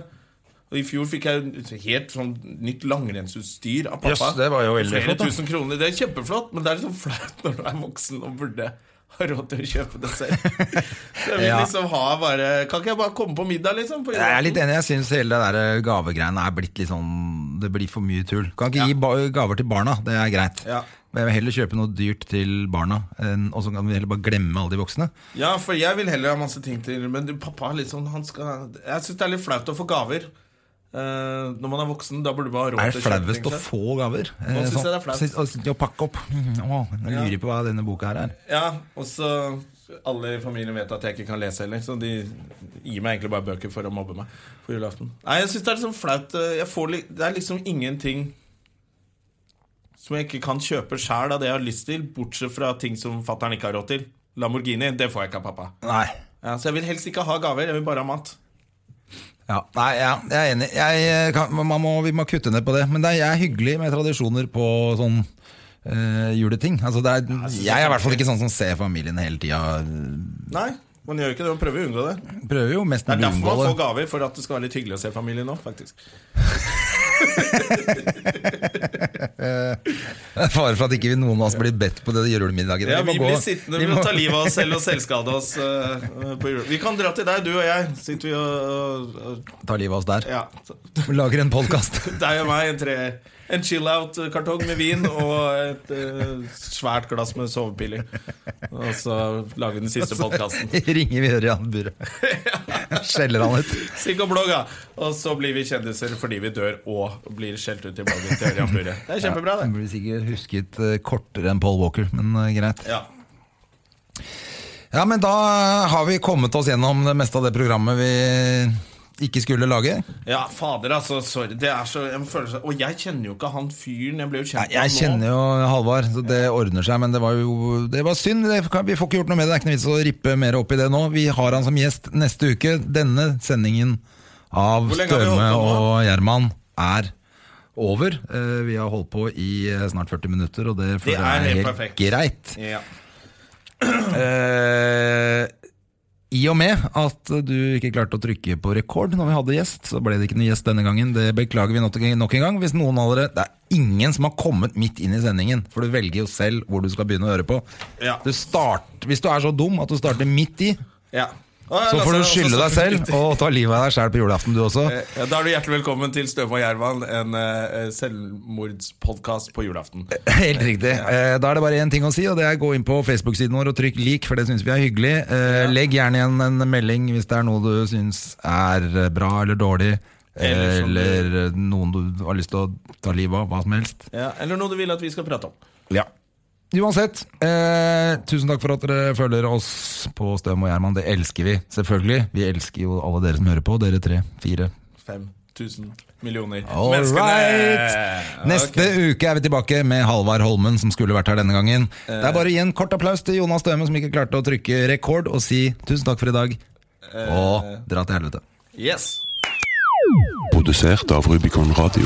Speaker 1: Og I fjor fikk jeg jo helt sånn nytt langrennsutstyr av pappa.
Speaker 2: Jøss, det var jo veldig
Speaker 1: Flere
Speaker 2: flott, da.
Speaker 1: tusen kroner. Det er kjempeflott, men det er litt sånn flaut når du er voksen og burde ha råd til å kjøpe det selv. Så jeg vil
Speaker 2: Ja.
Speaker 1: liksom ha bare Kan ikke jeg bare komme på middag, liksom? På
Speaker 2: Jeg er litt enig, jeg syns hele det der gavegreiene er blitt litt sånn Det blir for mye tull. Kan ikke gi ba gaver til barna, det er greit.
Speaker 1: Ja.
Speaker 2: Men jeg vil heller kjøpe noe dyrt til barna, enn- og så kan vi heller bare glemme alle de voksne.
Speaker 1: Ja, for jeg vil heller ha masse ting til Men du, pappa er litt sånn han skal, Jeg syns det er litt flaut å få gaver. Eh, når man er voksen, da burde man ha
Speaker 2: Er
Speaker 1: råd
Speaker 2: det
Speaker 1: til å kjøpe ting
Speaker 2: flauest å
Speaker 1: selv.
Speaker 2: få gaver?
Speaker 1: Nå synes jeg det er flaut.
Speaker 2: Å sitte og pakke opp. Mm, Å, nå lurer jeg på hva denne boka her er.
Speaker 1: Ja, og så alle i familien vet at jeg ikke kan lese heller, så de gir meg egentlig bare bøker for å mobbe meg på julaften. Nei, jeg syns det er liksom flaut. eh, Jeg får, li- det er liksom ingenting som jeg ikke kan kjøpe sjæl av det jeg har lyst til, bortsett fra ting som fatter'n ikke har råd til. Lamborghini, det får jeg ikke av pappa.
Speaker 2: Nei.
Speaker 1: Ja, så jeg vil helst ikke ha gaver, jeg vil bare ha mat.
Speaker 2: Ja, nei, ja, jeg er enig. Jeg eh, kan, man må, vi må kutte ned på det. Men det er, jeg er hyggelig med tradisjoner på sånn eh, juleting. Altså, det er, jeg er i hvert fall ikke sånn som ser familien hele tida.
Speaker 1: Nei, man gjør jo ikke det, man prøver å unngå det.
Speaker 2: Prøver jo mest
Speaker 1: Det er
Speaker 2: mulig å
Speaker 1: derfor man
Speaker 2: unngå
Speaker 1: får
Speaker 2: det.
Speaker 1: gaver, for at det skal være litt hyggelig å se familien nå, faktisk.
Speaker 2: Fare for at ikke vi noen av oss blir bedt på det julemiddagen.
Speaker 1: Ja,
Speaker 2: må
Speaker 1: vi
Speaker 2: gå-
Speaker 1: blir sittende
Speaker 2: vi
Speaker 1: vi må...
Speaker 2: må-
Speaker 1: ta livet av oss selv og selvskade oss. eh, på jul. Vi kan dra til deg, du og jeg. Sitter vi og, og
Speaker 2: ta livet av oss der.
Speaker 1: Ja.
Speaker 2: Lager en podkast.
Speaker 1: Deg og meg, en, tre, en chill-out-kartong med vin og et eh, svært glass med sovepiller. Og så lager vi den siste podkasten.
Speaker 2: Ringer vi Ørjan Burre. Skjeller han ut.
Speaker 1: Sikk og blogg, da. Og så blir vi kjendiser fordi vi dør og blir skjelt ut i bloggen til Ørjan Burre. Det er kjempebra,
Speaker 2: Han
Speaker 1: det.
Speaker 2: blir sikkert husket eh, kortere enn Paul Walker, men eh, greit.
Speaker 1: Ja.
Speaker 2: Ja, men da eh, har vi kommet oss gjennom det meste av det programmet vi ikke skulle lage.
Speaker 1: ja, fader, altså. Sorry. Det er så en følelse Og jeg kjenner jo ikke han fyren. Jeg ble jo kjent med
Speaker 2: Jeg
Speaker 1: han nå.
Speaker 2: kjenner jo Halvard, så det ordner seg, men det var jo det var synd. Det, kan- vi får ikke gjort noe med det. Det er ikke noe vits å rippe mer opp i det nå. Vi har han som gjest neste uke. Denne sendingen av
Speaker 1: Hvor lenge har vi
Speaker 2: Støme
Speaker 1: holdt på nå?
Speaker 2: og Gjerman er over. Eh, Vi har holdt på i eh, snart 40 minutter, og det føler
Speaker 1: er
Speaker 2: jeg
Speaker 1: helt
Speaker 2: er
Speaker 1: perfekt.
Speaker 2: helt greit.
Speaker 1: Ja.
Speaker 2: Eh, I og med at du ikke klarte å trykke på rekord når vi hadde gjest, så ble det ikke noe gjest denne gangen. Det beklager vi nok nok en gang. Hvis noen av dere Det er ingen som har kommet midt inn i sendingen, for du velger jo selv hvor du skal begynne å høre på.
Speaker 1: Ja.
Speaker 2: Du start, hvis du er så dum at du starter midt i,
Speaker 1: Ja. Å, ja, altså,
Speaker 2: så får
Speaker 1: Lasse,
Speaker 2: du skylde
Speaker 1: også-
Speaker 2: deg selv og ta livet av deg sjæl på julaften, du også.
Speaker 1: Ja, da er du hjertelig velkommen til Støv og Gjervan, en uh, selvmordspodkast på julaften.
Speaker 2: Helt riktig. Eh, Da er det bare én ting å si, og det er gå inn på Facebook-siden vår og trykk lik, for det syns vi er hyggelig. Eh, Legg gjerne igjen en melding hvis det er noe du syns er eh, bra eller dårlig,
Speaker 1: Eller som du-
Speaker 2: eller eh, noen du har lyst til å ta livet av, hva som helst.
Speaker 1: Ja, eller noe du vil at vi skal prate om.
Speaker 2: Uansett, eh, tusen takk for at dere følger oss på Støm og Gjerman. Det elsker vi, selvfølgelig. Vi elsker jo alle dere som hører på. Dere tre, fire,
Speaker 1: 5000 millioner
Speaker 2: All right. Neste uke er vi tilbake med Halvard Holmen, som skulle vært her denne gangen. Det er bare å gi en kort applaus til Jonas Døme, som ikke klarte å trykke rekord, og si tusen takk for i dag, og dra til helvete.
Speaker 1: Yes.
Speaker 3: Produsert av Rubicon Radio.